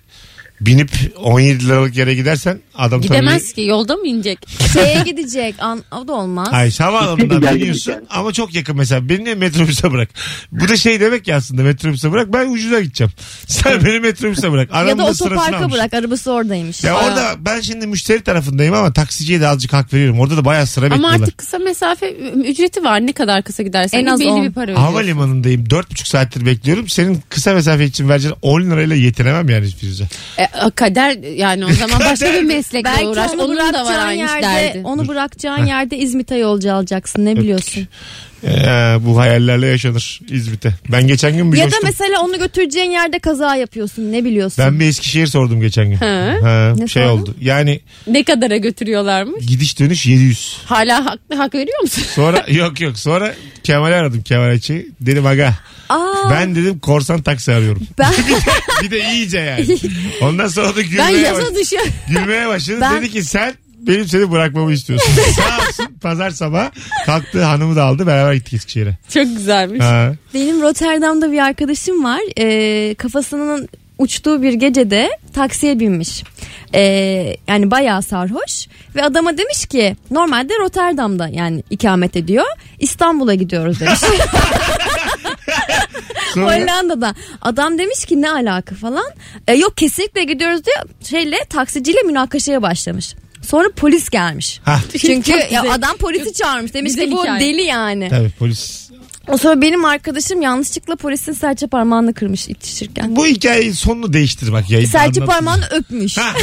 Speaker 2: binip 17 liralık yere gidersen adam
Speaker 4: Gidemez
Speaker 2: tabii...
Speaker 4: ki yolda mı inecek?
Speaker 3: Şeye gidecek. An, o da olmaz.
Speaker 2: Ay havaalanından
Speaker 9: Gerginlik
Speaker 2: biniyorsun
Speaker 9: yani.
Speaker 2: ama çok yakın mesela. Beni de metrobüse bırak. Bu da şey demek ya aslında metrobüse bırak ben ucuza gideceğim. Sen beni metrobüse bırak.
Speaker 3: ya
Speaker 2: Aramın
Speaker 3: da
Speaker 2: sırasını
Speaker 3: otoparka
Speaker 2: almış.
Speaker 3: bırak arabası oradaymış.
Speaker 2: Ya orada ben şimdi müşteri tarafındayım ama taksiciye de azıcık hak veriyorum. Orada da bayağı sıra
Speaker 4: Ama
Speaker 2: bekliyorlar.
Speaker 4: artık kısa mesafe ücreti var. Ne kadar kısa gidersen
Speaker 3: En az
Speaker 4: belli
Speaker 3: on.
Speaker 4: bir para ödüyorsun.
Speaker 2: Havalimanındayım. Dört buçuk saattir bekliyorum. Senin kısa mesafe için vereceğin 10 lirayla yetinemem yani Firuze.
Speaker 4: E, a- kader yani o zaman başka
Speaker 2: Kader.
Speaker 4: bir meslekle
Speaker 3: Belki
Speaker 4: uğraş.
Speaker 3: onu
Speaker 4: Onun da var
Speaker 3: bırakacağın
Speaker 4: aynı
Speaker 3: yerde,
Speaker 4: derdi.
Speaker 3: onu bırakacağın yerde İzmit'e yolcu alacaksın ne biliyorsun.
Speaker 2: Ee, bu hayallerle yaşanır İzmit'e. Ben geçen gün bir
Speaker 3: Ya da
Speaker 2: coştum.
Speaker 3: mesela onu götüreceğin yerde kaza yapıyorsun ne biliyorsun.
Speaker 2: Ben bir Eskişehir sordum geçen gün.
Speaker 4: Hı.
Speaker 2: Ha,
Speaker 3: Ne
Speaker 2: şey
Speaker 3: sordun?
Speaker 2: oldu. Yani
Speaker 4: Ne kadara götürüyorlarmış?
Speaker 2: gidiş dönüş 700.
Speaker 4: Hala hak, hak veriyor musun?
Speaker 2: Sonra yok yok sonra Kemal'i aradım Kemal Ayçi. Dedim aga
Speaker 3: Aa,
Speaker 2: ben dedim korsan taksi arıyorum.
Speaker 3: ben,
Speaker 2: bir de iyice yani. Ondan sonra da
Speaker 4: ben
Speaker 2: gülmeye, baş-
Speaker 4: yasa dışı.
Speaker 2: gülmeye başladı.
Speaker 3: Ben-
Speaker 2: Dedi ki sen benim seni bırakmamı istiyorsun. Sağ olsun pazar sabah kalktı hanımı da aldı beraber gittik Eskişehir'e.
Speaker 4: Çok güzelmiş.
Speaker 2: Ha.
Speaker 3: Benim Rotterdam'da bir arkadaşım var. Ee, kafasının uçtuğu bir gecede taksiye binmiş. Ee, yani bayağı sarhoş ve adama demiş ki normalde Rotterdam'da yani ikamet ediyor. İstanbul'a gidiyoruz demiş.
Speaker 2: Sonra
Speaker 3: Hollanda'da. Adam demiş ki ne alaka falan. E, yok kesinlikle gidiyoruz diyor. Şeyle taksiciyle münakaşaya başlamış. Sonra polis gelmiş.
Speaker 2: Ha.
Speaker 3: Çünkü
Speaker 4: Çok güzel.
Speaker 3: ya adam polisi çağırmış. Demiş
Speaker 4: güzel
Speaker 3: ki bu
Speaker 4: hikaye.
Speaker 3: deli yani.
Speaker 2: tabii polis
Speaker 3: O sonra benim arkadaşım yanlışlıkla polisin serçe parmağını kırmış itişirken.
Speaker 2: Bu hikayenin sonunu değiştir bak yayında.
Speaker 3: Serçe
Speaker 2: anlatırız.
Speaker 3: parmağını öpmüş.
Speaker 2: Ha,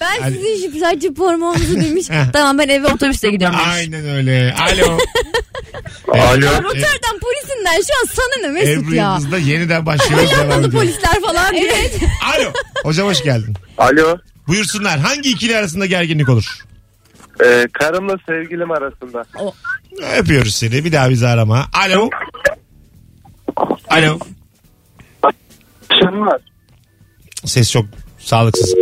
Speaker 3: ben
Speaker 2: Hani-
Speaker 3: sizin şu serçe parmağınızı demiş. tamam ben eve otobüste gidiyorum demiş.
Speaker 2: aynen öyle. Alo.
Speaker 8: Alo.
Speaker 2: Evet,
Speaker 3: Rotterdam polisinden şu an sana ne Mesut
Speaker 2: Ebru
Speaker 3: ya.
Speaker 2: Yıldız'da yeniden başlıyoruz. devam
Speaker 3: Hollandalı
Speaker 2: ediyoruz.
Speaker 3: polisler falan diye.
Speaker 2: Alo. Hocam hoş geldin.
Speaker 8: Alo.
Speaker 2: Buyursunlar. Hangi ikili arasında gerginlik olur?
Speaker 8: Ee, karımla sevgilim arasında.
Speaker 2: Öpüyoruz seni. Bir daha bizi arama. Alo. Alo.
Speaker 8: Şunlar. var.
Speaker 2: Ses çok sağlıksız.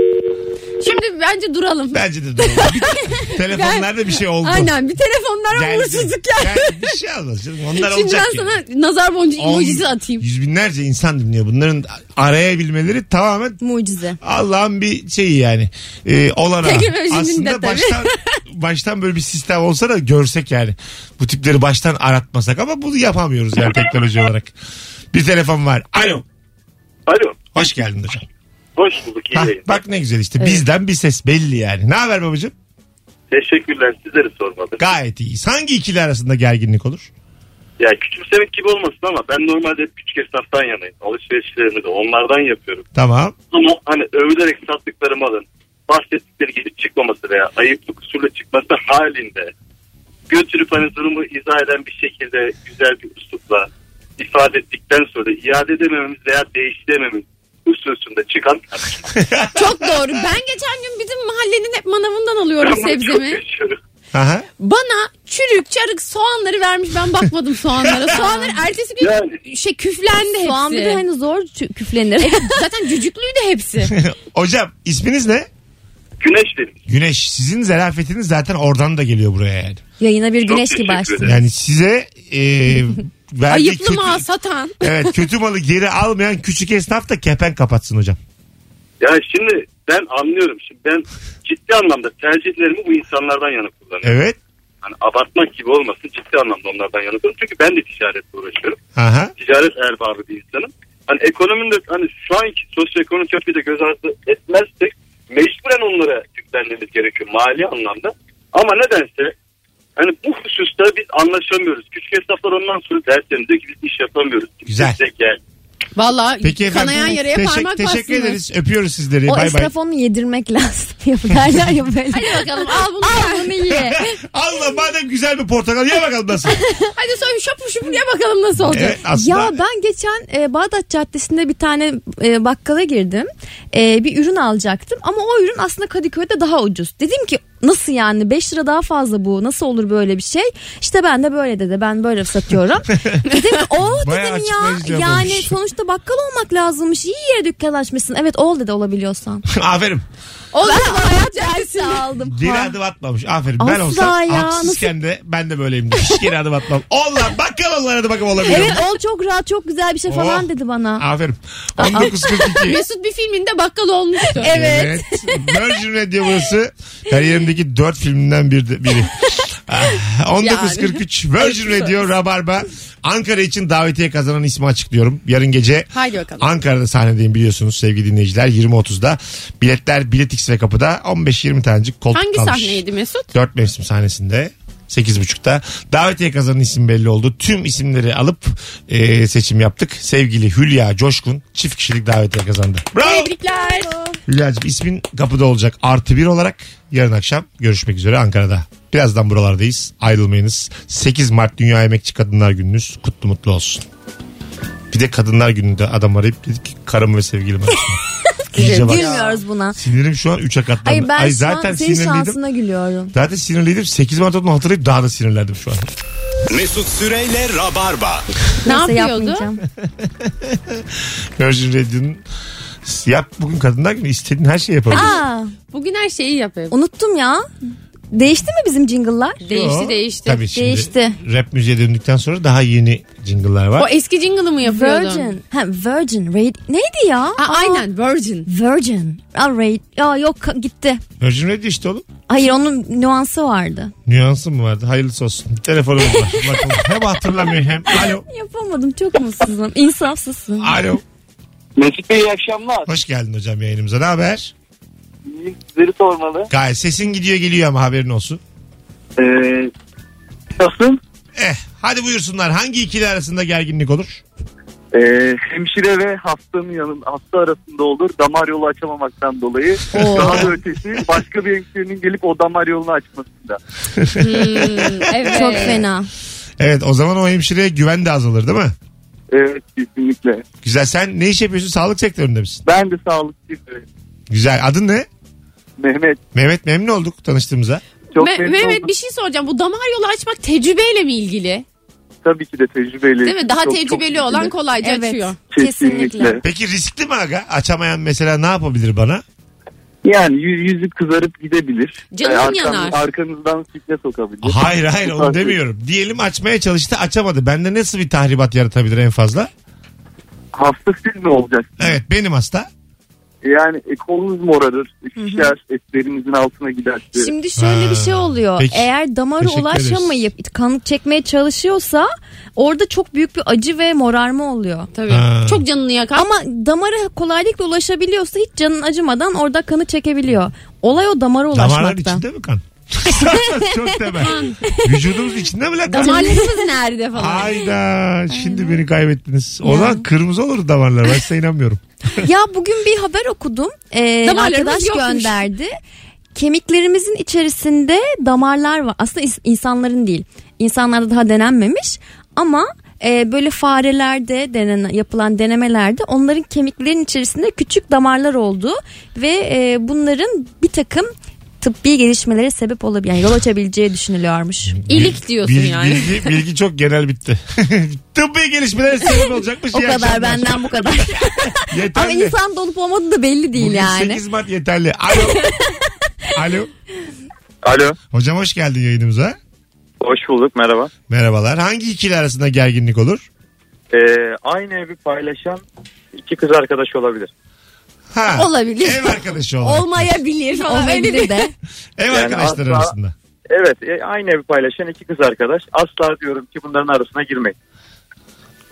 Speaker 4: Şimdi bence duralım.
Speaker 2: Bence de doğru. Bir- Telefonlarda bir şey oldu.
Speaker 4: Aynen bir telefonlara
Speaker 2: Geldi.
Speaker 4: uğursuzluk ya.
Speaker 2: Geldi. Bir şey olmaz canım. Onlar
Speaker 4: Şimdi
Speaker 2: olacak
Speaker 4: ben
Speaker 2: yani.
Speaker 4: sana nazar boncuğu
Speaker 2: On-
Speaker 4: emojisi atayım.
Speaker 2: Yüz binlerce insan dinliyor. Bunların arayabilmeleri tamamen
Speaker 3: Mucize.
Speaker 2: Allah'ın bir şeyi yani. Ee, olana.
Speaker 4: Tekrar özünün de
Speaker 2: Aslında
Speaker 4: tabii.
Speaker 2: baştan baştan böyle bir sistem olsa da görsek yani. Bu tipleri baştan aratmasak ama bunu yapamıyoruz yani teknoloji olarak. Bir telefon var. Alo.
Speaker 10: Alo.
Speaker 2: Hoş geldin hocam.
Speaker 10: Hoş bulduk. iyi
Speaker 2: Hah,
Speaker 10: yayınlar.
Speaker 2: bak ne güzel işte.
Speaker 3: Evet.
Speaker 2: Bizden bir ses belli yani. Ne haber babacığım?
Speaker 10: Teşekkürler. Sizleri sormadım.
Speaker 2: Gayet iyiyiz. Hangi ikili arasında gerginlik olur?
Speaker 10: Ya küçümsemek gibi olmasın ama ben normalde hep küçük esnaftan yanayım. Alışverişlerimi de onlardan yapıyorum.
Speaker 2: Tamam.
Speaker 10: Ama hani övülerek sattıkları malın bahsettikleri gibi çıkmaması veya ayıplı kusurla çıkması halinde götürüp hani durumu izah eden bir şekilde güzel bir üslupla ifade ettikten sonra iade edememiz veya değiştirememiz hususunda çıkan
Speaker 4: Çok doğru. Ben geçen gün bizim mahallenin hep manavından alıyorum
Speaker 10: Ama çok
Speaker 4: sebzemi.
Speaker 10: yaşıyorum.
Speaker 2: Aha.
Speaker 4: Bana çürük çarık soğanları vermiş ben bakmadım soğanlara. Soğanlar ertesi gün
Speaker 10: Yani.
Speaker 4: şey küflendi hepsi.
Speaker 3: Soğan bir de hani zor çü- küflenir.
Speaker 4: Zaten cücüklüydü hepsi.
Speaker 2: Hocam isminiz ne?
Speaker 10: Güneş benim.
Speaker 2: Güneş. Sizin zarafetiniz zaten oradan da geliyor buraya yani.
Speaker 3: Yayına bir
Speaker 10: Çok
Speaker 3: güneş gibi
Speaker 10: teşekkür
Speaker 3: açtın.
Speaker 10: ederim.
Speaker 2: Yani size e, verdiği
Speaker 4: Ayıplı
Speaker 2: kötü-
Speaker 4: mal satan.
Speaker 2: Evet kötü malı geri almayan küçük esnaf da kepen kapatsın hocam.
Speaker 10: Ya şimdi ben anlıyorum. Şimdi ben ciddi anlamda tercihlerimi bu insanlardan yana kullanıyorum.
Speaker 2: Evet.
Speaker 10: Hani abartmak gibi olmasın ciddi anlamda onlardan yana kullanıyorum. Çünkü ben de ticaretle uğraşıyorum.
Speaker 2: Aha.
Speaker 10: Ticaret erbabı bir insanım. Hani ekonominin de hani şu anki sosyoekonomik yapıyı da göz ardı etmezsek mecburen onlara yüklenmemiz gerekiyor mali anlamda. Ama nedense hani bu hususta biz anlaşamıyoruz. Küçük esnaflar ondan sonra derslerinde ki biz iş yapamıyoruz.
Speaker 2: Güzel.
Speaker 10: Biz de gel.
Speaker 4: Valla
Speaker 2: Peki efendim.
Speaker 4: kanayan yaraya
Speaker 2: teşek-
Speaker 4: parmak
Speaker 2: Teşekkür
Speaker 4: bassınlar.
Speaker 2: ederiz. Öpüyoruz sizleri.
Speaker 3: O
Speaker 2: bay bay.
Speaker 3: esnaf onu yedirmek lazım. Derler ya böyle.
Speaker 4: Hadi bakalım al bunu.
Speaker 3: Al bunu ye.
Speaker 2: Allah madem güzel bir portakal ye bakalım nasıl.
Speaker 4: Hadi sonra şapur şupur ye bakalım nasıl olacak.
Speaker 2: Evet aslında.
Speaker 3: Ya ben geçen e, Bağdat Caddesi'nde bir tane e, bakkala girdim. E, bir ürün alacaktım ama o ürün aslında Kadıköy'de daha ucuz. Dedim ki nasıl yani 5 lira daha fazla bu nasıl olur böyle bir şey? İşte ben de böyle dedi ben böyle satıyorum. dedim ki oh
Speaker 2: Bayağı
Speaker 3: dedim
Speaker 2: açıklayıcı
Speaker 3: ya
Speaker 2: cevap
Speaker 3: yani
Speaker 2: olmuş.
Speaker 3: sonuçta bakkal olmak lazımmış. İyi yere dükkan açmışsın. Evet ol dedi olabiliyorsan.
Speaker 2: Aferin.
Speaker 4: Olur mu? hayat
Speaker 3: Dersi
Speaker 4: dersi.
Speaker 3: aldım.
Speaker 2: Geri
Speaker 3: Ha.
Speaker 2: adım atmamış. Aferin. ben
Speaker 3: Asla
Speaker 2: olsam
Speaker 3: ya,
Speaker 2: haksızken de ben de böyleyimdir. Hiç geri adım atmam. Allah bakkal onlara da bakalım olabilir.
Speaker 3: Evet ol çok rahat çok güzel bir şey falan
Speaker 2: Oh.
Speaker 3: dedi bana.
Speaker 2: Aferin. 1942.
Speaker 4: Mesut bir filminde bakkal olmuştu.
Speaker 2: Evet. Virgin Radio burası. Kariyerimdeki dört filmimden bir biri. Ah, 1943 Virgin Radio Rabarba. Ankara için davetiye kazanan ismi açıklıyorum. Yarın gece
Speaker 4: Haydi bakalım.
Speaker 2: Ankara'da sahnedeyim biliyorsunuz sevgili dinleyiciler 20.30'da. Biletler Biletix ve kapıda 15-20 tanecik koltuk
Speaker 4: Hangi
Speaker 2: kalmış.
Speaker 4: sahneydi Mesut?
Speaker 2: 4 mevsim sahnesinde 8.30'da. Davetiye kazanan isim belli oldu. Tüm isimleri alıp e, seçim yaptık. Sevgili Hülya Coşkun çift kişilik davetiye kazandı. Bravo.
Speaker 4: Tebrikler.
Speaker 2: Hülya'cığım ismin kapıda olacak artı bir olarak yarın akşam görüşmek üzere Ankara'da. Birazdan buralardayız ayrılmayınız. 8 Mart Dünya Emekçi Kadınlar Gününüz kutlu mutlu olsun. Bir de Kadınlar Günü'nde adam arayıp dedi ki karım ve sevgilim arasında. İyice bak.
Speaker 3: Gülmüyoruz buna.
Speaker 2: Sinirim şu an 3'e katlandı.
Speaker 3: Ay ben
Speaker 2: Ay
Speaker 3: şu an
Speaker 2: zaten
Speaker 3: senin
Speaker 2: sinirliydim.
Speaker 3: şansına gülüyorum.
Speaker 2: Zaten sinirliydim. 8 Mart olduğunu hatırlayıp daha da sinirlendim şu an.
Speaker 1: Mesut Süreyle Rabarba.
Speaker 4: Ne
Speaker 3: Neyse,
Speaker 4: yapıyordu?
Speaker 3: yapmayacağım.
Speaker 2: Virgin Radio'nun yap bugün Kadınlar Günü istediğin her şeyi yapabilirsin.
Speaker 3: Aa,
Speaker 4: Bugün her şeyi yapıyor.
Speaker 3: unuttum ya. Değişti mi bizim jingle'lar?
Speaker 4: Değişti değişti.
Speaker 2: Tabii şimdi
Speaker 3: Değişti.
Speaker 2: Rap müziğe döndükten sonra daha yeni jingle'lar var.
Speaker 4: O eski jingle'ı mı yapıyordun?
Speaker 3: Virgin. Ha, Virgin. Raid. Neydi ya?
Speaker 4: Ha,
Speaker 3: Aa,
Speaker 4: aynen Virgin.
Speaker 3: Virgin. Aa, Raid. Ya yok ka- gitti.
Speaker 2: Virgin Radio işte oğlum.
Speaker 3: Hayır onun nüansı vardı.
Speaker 2: Nüansı mı vardı? Hayırlısı olsun. Bir telefonumuz var. Bakalım. Hem hatırlamıyor hem. Alo.
Speaker 3: Yapamadım çok mutsuzum. İnsafsızsın.
Speaker 2: Alo.
Speaker 7: Mesut Bey iyi akşamlar.
Speaker 2: Hoş geldin hocam yayınımıza. Ne haber?
Speaker 7: İyiyim, Sizleri sormalı.
Speaker 2: Gayet sesin gidiyor geliyor ama haberin olsun.
Speaker 7: Ee, nasıl?
Speaker 2: Eh Hadi buyursunlar. Hangi ikili arasında gerginlik olur?
Speaker 8: Ee, hemşire ve hastanın yanın hasta arasında olur. Damar yolu açamamaktan dolayı. Daha da ötesi başka bir hemşirenin gelip o damar yolunu açmasında.
Speaker 4: Hmm, evet.
Speaker 3: Çok fena.
Speaker 2: Evet o zaman o hemşireye güven de azalır değil mi?
Speaker 8: Evet kesinlikle.
Speaker 2: Güzel. Sen ne iş yapıyorsun? Sağlık sektöründe misin?
Speaker 8: Ben de sağlıkçıyım.
Speaker 2: Güzel. Adın ne?
Speaker 8: Mehmet.
Speaker 2: Mehmet memnun olduk tanıştığımıza.
Speaker 8: Çok
Speaker 4: Me-
Speaker 8: memnun
Speaker 4: Mehmet
Speaker 8: oldum.
Speaker 4: bir şey soracağım. Bu damar yolu açmak tecrübeyle mi ilgili?
Speaker 8: Tabii ki de tecrübeli.
Speaker 4: Değil mi? Daha
Speaker 8: Çok- çok
Speaker 4: tecrübeli
Speaker 8: ilgili.
Speaker 4: olan kolayca
Speaker 3: Evet.
Speaker 4: açıyor.
Speaker 8: Kesinlikle.
Speaker 2: Peki riskli mi aga? Açamayan mesela ne yapabilir bana?
Speaker 8: Yani yü- yüzü kızarıp gidebilir. Ee,
Speaker 4: Canın yanar.
Speaker 8: Arkanızdan sikle sokabilir.
Speaker 2: Hayır hayır onu
Speaker 8: Fark-
Speaker 2: demiyorum. Diyelim açmaya çalıştı açamadı. Bende nasıl bir tahribat yaratabilir en fazla?
Speaker 8: Hasta siz mi olacaksınız?
Speaker 2: Evet benim hasta.
Speaker 8: Yani e, kolunuz morarır, şişer, etlerinizin altına gider.
Speaker 3: Şimdi şöyle
Speaker 2: Ha.
Speaker 3: bir şey oluyor.
Speaker 2: Peki.
Speaker 3: Eğer damara
Speaker 2: Teşekkür ederiz.
Speaker 3: ulaşamayıp kan çekmeye çalışıyorsa orada çok büyük bir acı ve morarma oluyor.
Speaker 4: Tabii.
Speaker 2: Ha.
Speaker 4: Çok canını yakar.
Speaker 3: Ama damara kolaylıkla ulaşabiliyorsa hiç canın acımadan orada kanı çekebiliyor. Olay o damara
Speaker 2: Damarların
Speaker 3: ulaşmakta.
Speaker 2: içinde mi kan? Çok temel. Vücudumuz içinde mi lan kan?
Speaker 4: Damarlarımız nerede falan.
Speaker 2: Hayda şimdi beni kaybettiniz. O zaman kırmızı olur damarlar. Ben size inanmıyorum.
Speaker 3: Ya bugün bir haber okudum. Ee,
Speaker 4: Damarlarımız
Speaker 3: arkadaş
Speaker 4: yokmuş.
Speaker 3: gönderdi. Kemiklerimizin içerisinde damarlar var. Aslında is- insanların değil. İnsanlarda daha denenmemiş ama e, böyle farelerde denen yapılan denemelerde onların kemiklerin içerisinde küçük damarlar olduğu ve e, bunların bir takım tıbbi gelişmelere sebep olabilir. Yani yol açabileceği düşünülüyormuş.
Speaker 4: İlik diyorsun
Speaker 2: Bil-
Speaker 4: yani.
Speaker 2: Bilgi, bilgi çok genel bitti. Tıbbi gelişmeler sebep olacakmış.
Speaker 3: O
Speaker 2: İyi
Speaker 3: kadar
Speaker 2: akşamlar.
Speaker 3: benden bu kadar. Ama
Speaker 2: Yeterli.
Speaker 3: insan dolup olmadığı da belli değil
Speaker 2: Bugün
Speaker 3: yani.
Speaker 2: 8 Mart yeterli. Alo. Alo.
Speaker 8: Alo,
Speaker 2: Hocam hoş geldin yayınımıza.
Speaker 8: hoş bulduk, merhaba.
Speaker 2: Merhabalar. Hangi ikili arasında gerginlik olur?
Speaker 8: Ee, aynı evi paylaşan iki kız arkadaş olabilir.
Speaker 2: Ha.
Speaker 4: Olabilir.
Speaker 2: Ev arkadaşı olarak.
Speaker 4: Olmayabilir falan. Öyle bir
Speaker 3: Olabilir de.
Speaker 2: ev
Speaker 8: Yani asla-
Speaker 2: arkadaşları arasında.
Speaker 8: Evet, e, aynı evi paylaşan iki kız arkadaş. Asla diyorum ki bunların arasına girmeyin.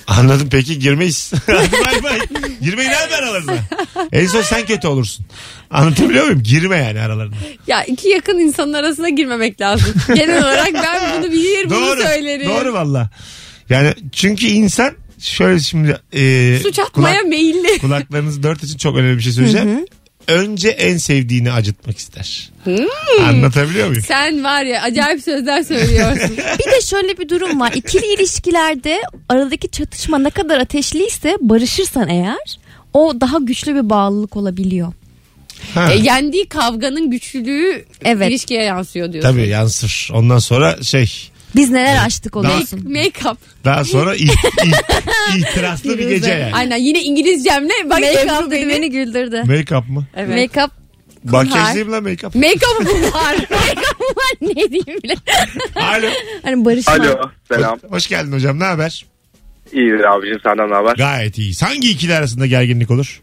Speaker 2: Anladım peki girmeyiz. Hadi bay bay. Girmeyin abi aralarına. En son sen kötü olursun. Anlatabiliyor muyum? Girme yani aralarına.
Speaker 4: Ya iki yakın insanın arasına girmemek lazım. Genel olarak ben bunu bilir bunu
Speaker 2: doğru.
Speaker 4: söylerim.
Speaker 2: Doğru valla. Yani çünkü insan şöyle şimdi e,
Speaker 4: Suç atmaya
Speaker 2: kulak-
Speaker 4: meyilli.
Speaker 2: kulaklarınızı dört için çok önemli bir şey söyleyeceğim. Önce en sevdiğini acıtmak ister.
Speaker 4: Hmm.
Speaker 2: Anlatabiliyor muyum?
Speaker 4: Sen var ya acayip sözler söylüyorsun.
Speaker 3: Bir de şöyle bir durum var. İkili ilişkilerde aradaki çatışma ne kadar ateşliyse barışırsan eğer o daha güçlü bir bağlılık olabiliyor.
Speaker 2: Ha.
Speaker 4: E, yendiği kavganın güçlülüğü
Speaker 3: Evet.
Speaker 4: ilişkiye yansıyor diyorsun.
Speaker 2: Tabii yansır. Ondan sonra şey
Speaker 3: Biz neler açtık
Speaker 4: Make,
Speaker 3: oluyorsun.
Speaker 4: make-up.
Speaker 2: daha sonra it, itiraflı bir gece yani.
Speaker 4: Aynen yine İngilizcemle bak
Speaker 3: Make-up
Speaker 4: Ebru
Speaker 3: dedi
Speaker 4: beni.
Speaker 3: beni güldürdü.
Speaker 2: Make-up mı?
Speaker 4: Evet.
Speaker 3: Make-up
Speaker 2: Makyaj değil mi lan make-up?
Speaker 4: Make-up var. Make-up var ne diyeyim bile.
Speaker 2: Alo.
Speaker 3: hani barışma.
Speaker 8: selam.
Speaker 2: Hoş geldin hocam. Ne haber?
Speaker 8: İyidir abicim, senden ne haber?
Speaker 2: Gayet iyi. Hangi ikili arasında gerginlik olur?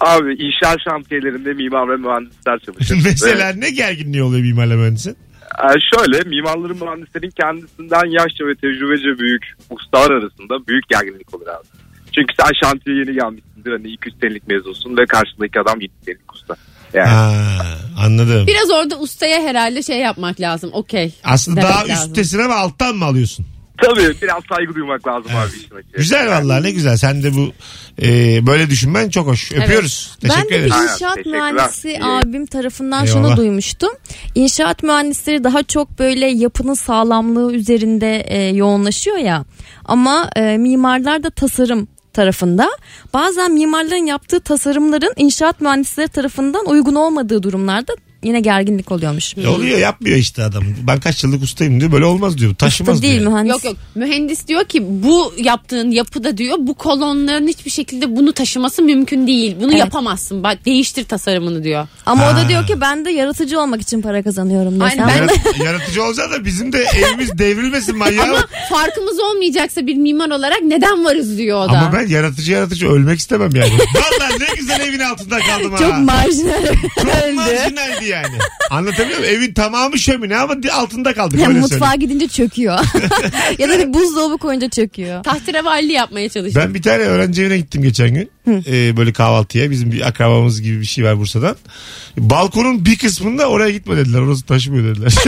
Speaker 8: Abi inşaat şantiyelerinde mimar ve mühendisler çalışır.
Speaker 2: Mesela ne gerginliği oluyor mimarla mühendisin?
Speaker 8: Ee, şöyle mimarların mühendislerin kendisinden yaşça ve tecrübece büyük ustalar arasında büyük gerginlik olur abi. Çünkü sen şantiye yeni gelmişsindir hani 200 senelik mezunsun ve karşındaki adam 7 senelik usta. Yani
Speaker 2: Ha, anladım.
Speaker 4: Biraz orada ustaya herhalde şey yapmak lazım. Okey.
Speaker 2: Aslında
Speaker 4: demek
Speaker 2: daha
Speaker 4: lazım.
Speaker 2: üsttesin ama alttan mı alıyorsun?
Speaker 8: tabii biraz saygı duymak lazım abi işin açığı.
Speaker 2: Güzel vallahi ne güzel. Sen de bu e, böyle düşünmen çok hoş. Öpüyoruz.
Speaker 3: Ben
Speaker 2: Teşekkür
Speaker 3: de bir
Speaker 2: ederiz.
Speaker 3: inşaat
Speaker 8: Teşekkürler.
Speaker 3: mühendisi
Speaker 8: İyi.
Speaker 3: abim tarafından
Speaker 2: Eyvallah.
Speaker 3: şunu duymuştum. İnşaat mühendisleri daha çok böyle yapının sağlamlığı üzerinde e, yoğunlaşıyor ya. Ama e, mimarlar da tasarım tarafında. Bazen mimarların yaptığı tasarımların inşaat mühendisleri tarafından uygun olmadığı durumlarda yine gerginlik oluyormuş.
Speaker 2: E, Oluyor yapmıyor işte adam. Ben kaç yıllık ustayım diyor. Böyle olmaz diyor. Taşımaz
Speaker 3: Usta değil
Speaker 2: diyor.
Speaker 3: mühendis.
Speaker 4: Yok yok mühendis diyor ki bu yaptığın yapıda diyor bu kolonların hiçbir şekilde bunu taşıması mümkün değil. Bunu
Speaker 3: Evet.
Speaker 4: yapamazsın bak değiştir tasarımını diyor.
Speaker 3: Ama o
Speaker 2: Ha.
Speaker 3: da diyor ki ben de yaratıcı olmak için para kazanıyorum. diyor.
Speaker 4: Aynen,
Speaker 3: Sen-
Speaker 4: ben-
Speaker 2: Yarat- yaratıcı olacak da bizim de evimiz devrilmesin manyağı.
Speaker 4: Ama
Speaker 2: Ama,
Speaker 4: farkımız olmayacaksa bir mimar olarak neden varız diyor o da.
Speaker 2: ben yaratıcı yaratıcı ölmek istemem yani. Vallahi ne güzel evin altında kaldım ha.
Speaker 3: Çok marjinal.
Speaker 2: Çok marjinaldi yani. Anlatabiliyor muyum? Evin tamamı şömine ama di- altında kaldık.
Speaker 3: Ya
Speaker 2: öyle
Speaker 3: mutfağa
Speaker 2: söyleyeyim.
Speaker 3: gidince çöküyor. ya da bir buzdolabı koyunca çöküyor.
Speaker 4: Tahterevalli yapmaya çalışıyor.
Speaker 2: Ben bir tane öğrenci evine gittim geçen gün. Ee, böyle kahvaltıya. Bizim bir akrabamız gibi bir şey var Bursa'dan. Balkonun bir kısmında oraya gitme dediler. Orası taşımıyor dediler.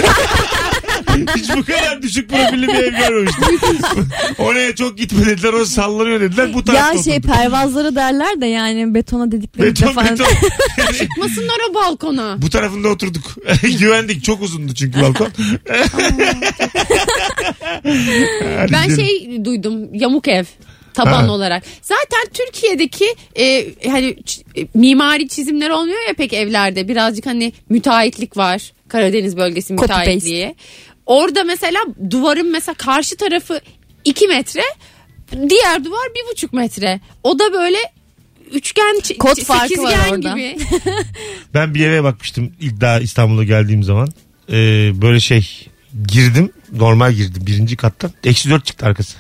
Speaker 2: Hiç bu kadar düşük profilli bir ev görmemiştim. Oraya çok gitme dediler. O sallanıyor dediler. Bu tarafta
Speaker 3: Ya şey
Speaker 2: oturduk.
Speaker 3: pervazları derler de yani betona dedikleri
Speaker 2: Beton
Speaker 3: falan.
Speaker 2: beton. Yani
Speaker 4: Çıkmasınlar o balkona.
Speaker 2: bu tarafında oturduk. Güvendik. Çok uzundu çünkü balkon. Hadi
Speaker 4: Ben
Speaker 2: gidelim.
Speaker 4: şey duydum yamuk ev taban
Speaker 2: Ha.
Speaker 4: olarak. Zaten Türkiye'deki e, hani ç- e, mimari çizimler olmuyor ya pek evlerde. Birazcık hani müteahhitlik var. Karadeniz bölgesi
Speaker 3: Copy paste.
Speaker 4: müteahhitliği. Orada mesela duvarın mesela karşı tarafı 2 metre, diğer duvar 1,5 metre. O da böyle üçgen ç-
Speaker 3: Kod
Speaker 4: ç-
Speaker 3: farkı var
Speaker 4: sekizgen
Speaker 3: orada.
Speaker 4: gibi.
Speaker 2: Ben bir eve bakmıştım ilk daha İstanbul'a geldiğim zaman. Ee, böyle şey girdim normal girdim birinci kattan. Eksi dört çıktı arkası.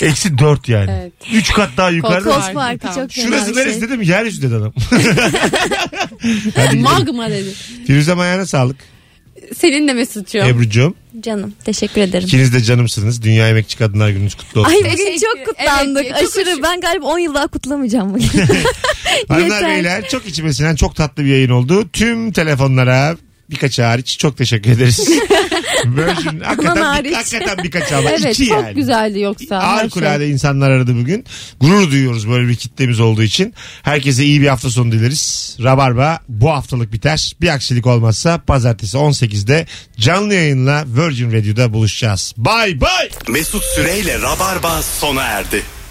Speaker 2: Eksi dört yani.
Speaker 4: Evet.
Speaker 2: Üç kat daha yukarıda.
Speaker 4: Korkunç.
Speaker 3: Kos farkı çok
Speaker 2: Şurası
Speaker 3: fena bir
Speaker 2: neresi
Speaker 3: şey.
Speaker 2: dedim yeryüzü dedi adam.
Speaker 4: Magma dedi.
Speaker 2: Firuzem ayağına sağlık.
Speaker 4: Senin de Mesut'cum.
Speaker 2: Ebru'cum
Speaker 3: Canım teşekkür ederim.
Speaker 2: ikiniz de canımsınız. Dünya Emekçi Kadınlar Gününüz kutlu olsun.
Speaker 3: Ay bugün
Speaker 4: Teşekkür-
Speaker 3: çok kutlandık.
Speaker 4: Evet, çok
Speaker 3: Aşırı
Speaker 4: aşırı.
Speaker 3: ben galiba 10 yıl daha kutlamayacağım bugün.
Speaker 2: Hanımlar
Speaker 3: yeter.
Speaker 2: beyler çok içime sinen çok tatlı bir yayın oldu. Tüm telefonlara birkaç hariç çok teşekkür ederiz. Virgin, hakikaten, bir,
Speaker 3: hariç.
Speaker 2: hakikaten birkaç ama
Speaker 4: Evet
Speaker 2: iki
Speaker 4: çok
Speaker 2: yani.
Speaker 4: güzeldi yoksa. her şey.
Speaker 2: Harikulade insanlar aradı bugün. Gurur duyuyoruz böyle bir kitlemiz olduğu için. Herkese iyi bir hafta sonu dileriz. Rabarba bu haftalık biter. Bir aksilik olmazsa pazartesi 18'de canlı yayınla Virgin Radio'da buluşacağız. Bay bay.
Speaker 1: Mesut Süreyle Rabarba sona erdi.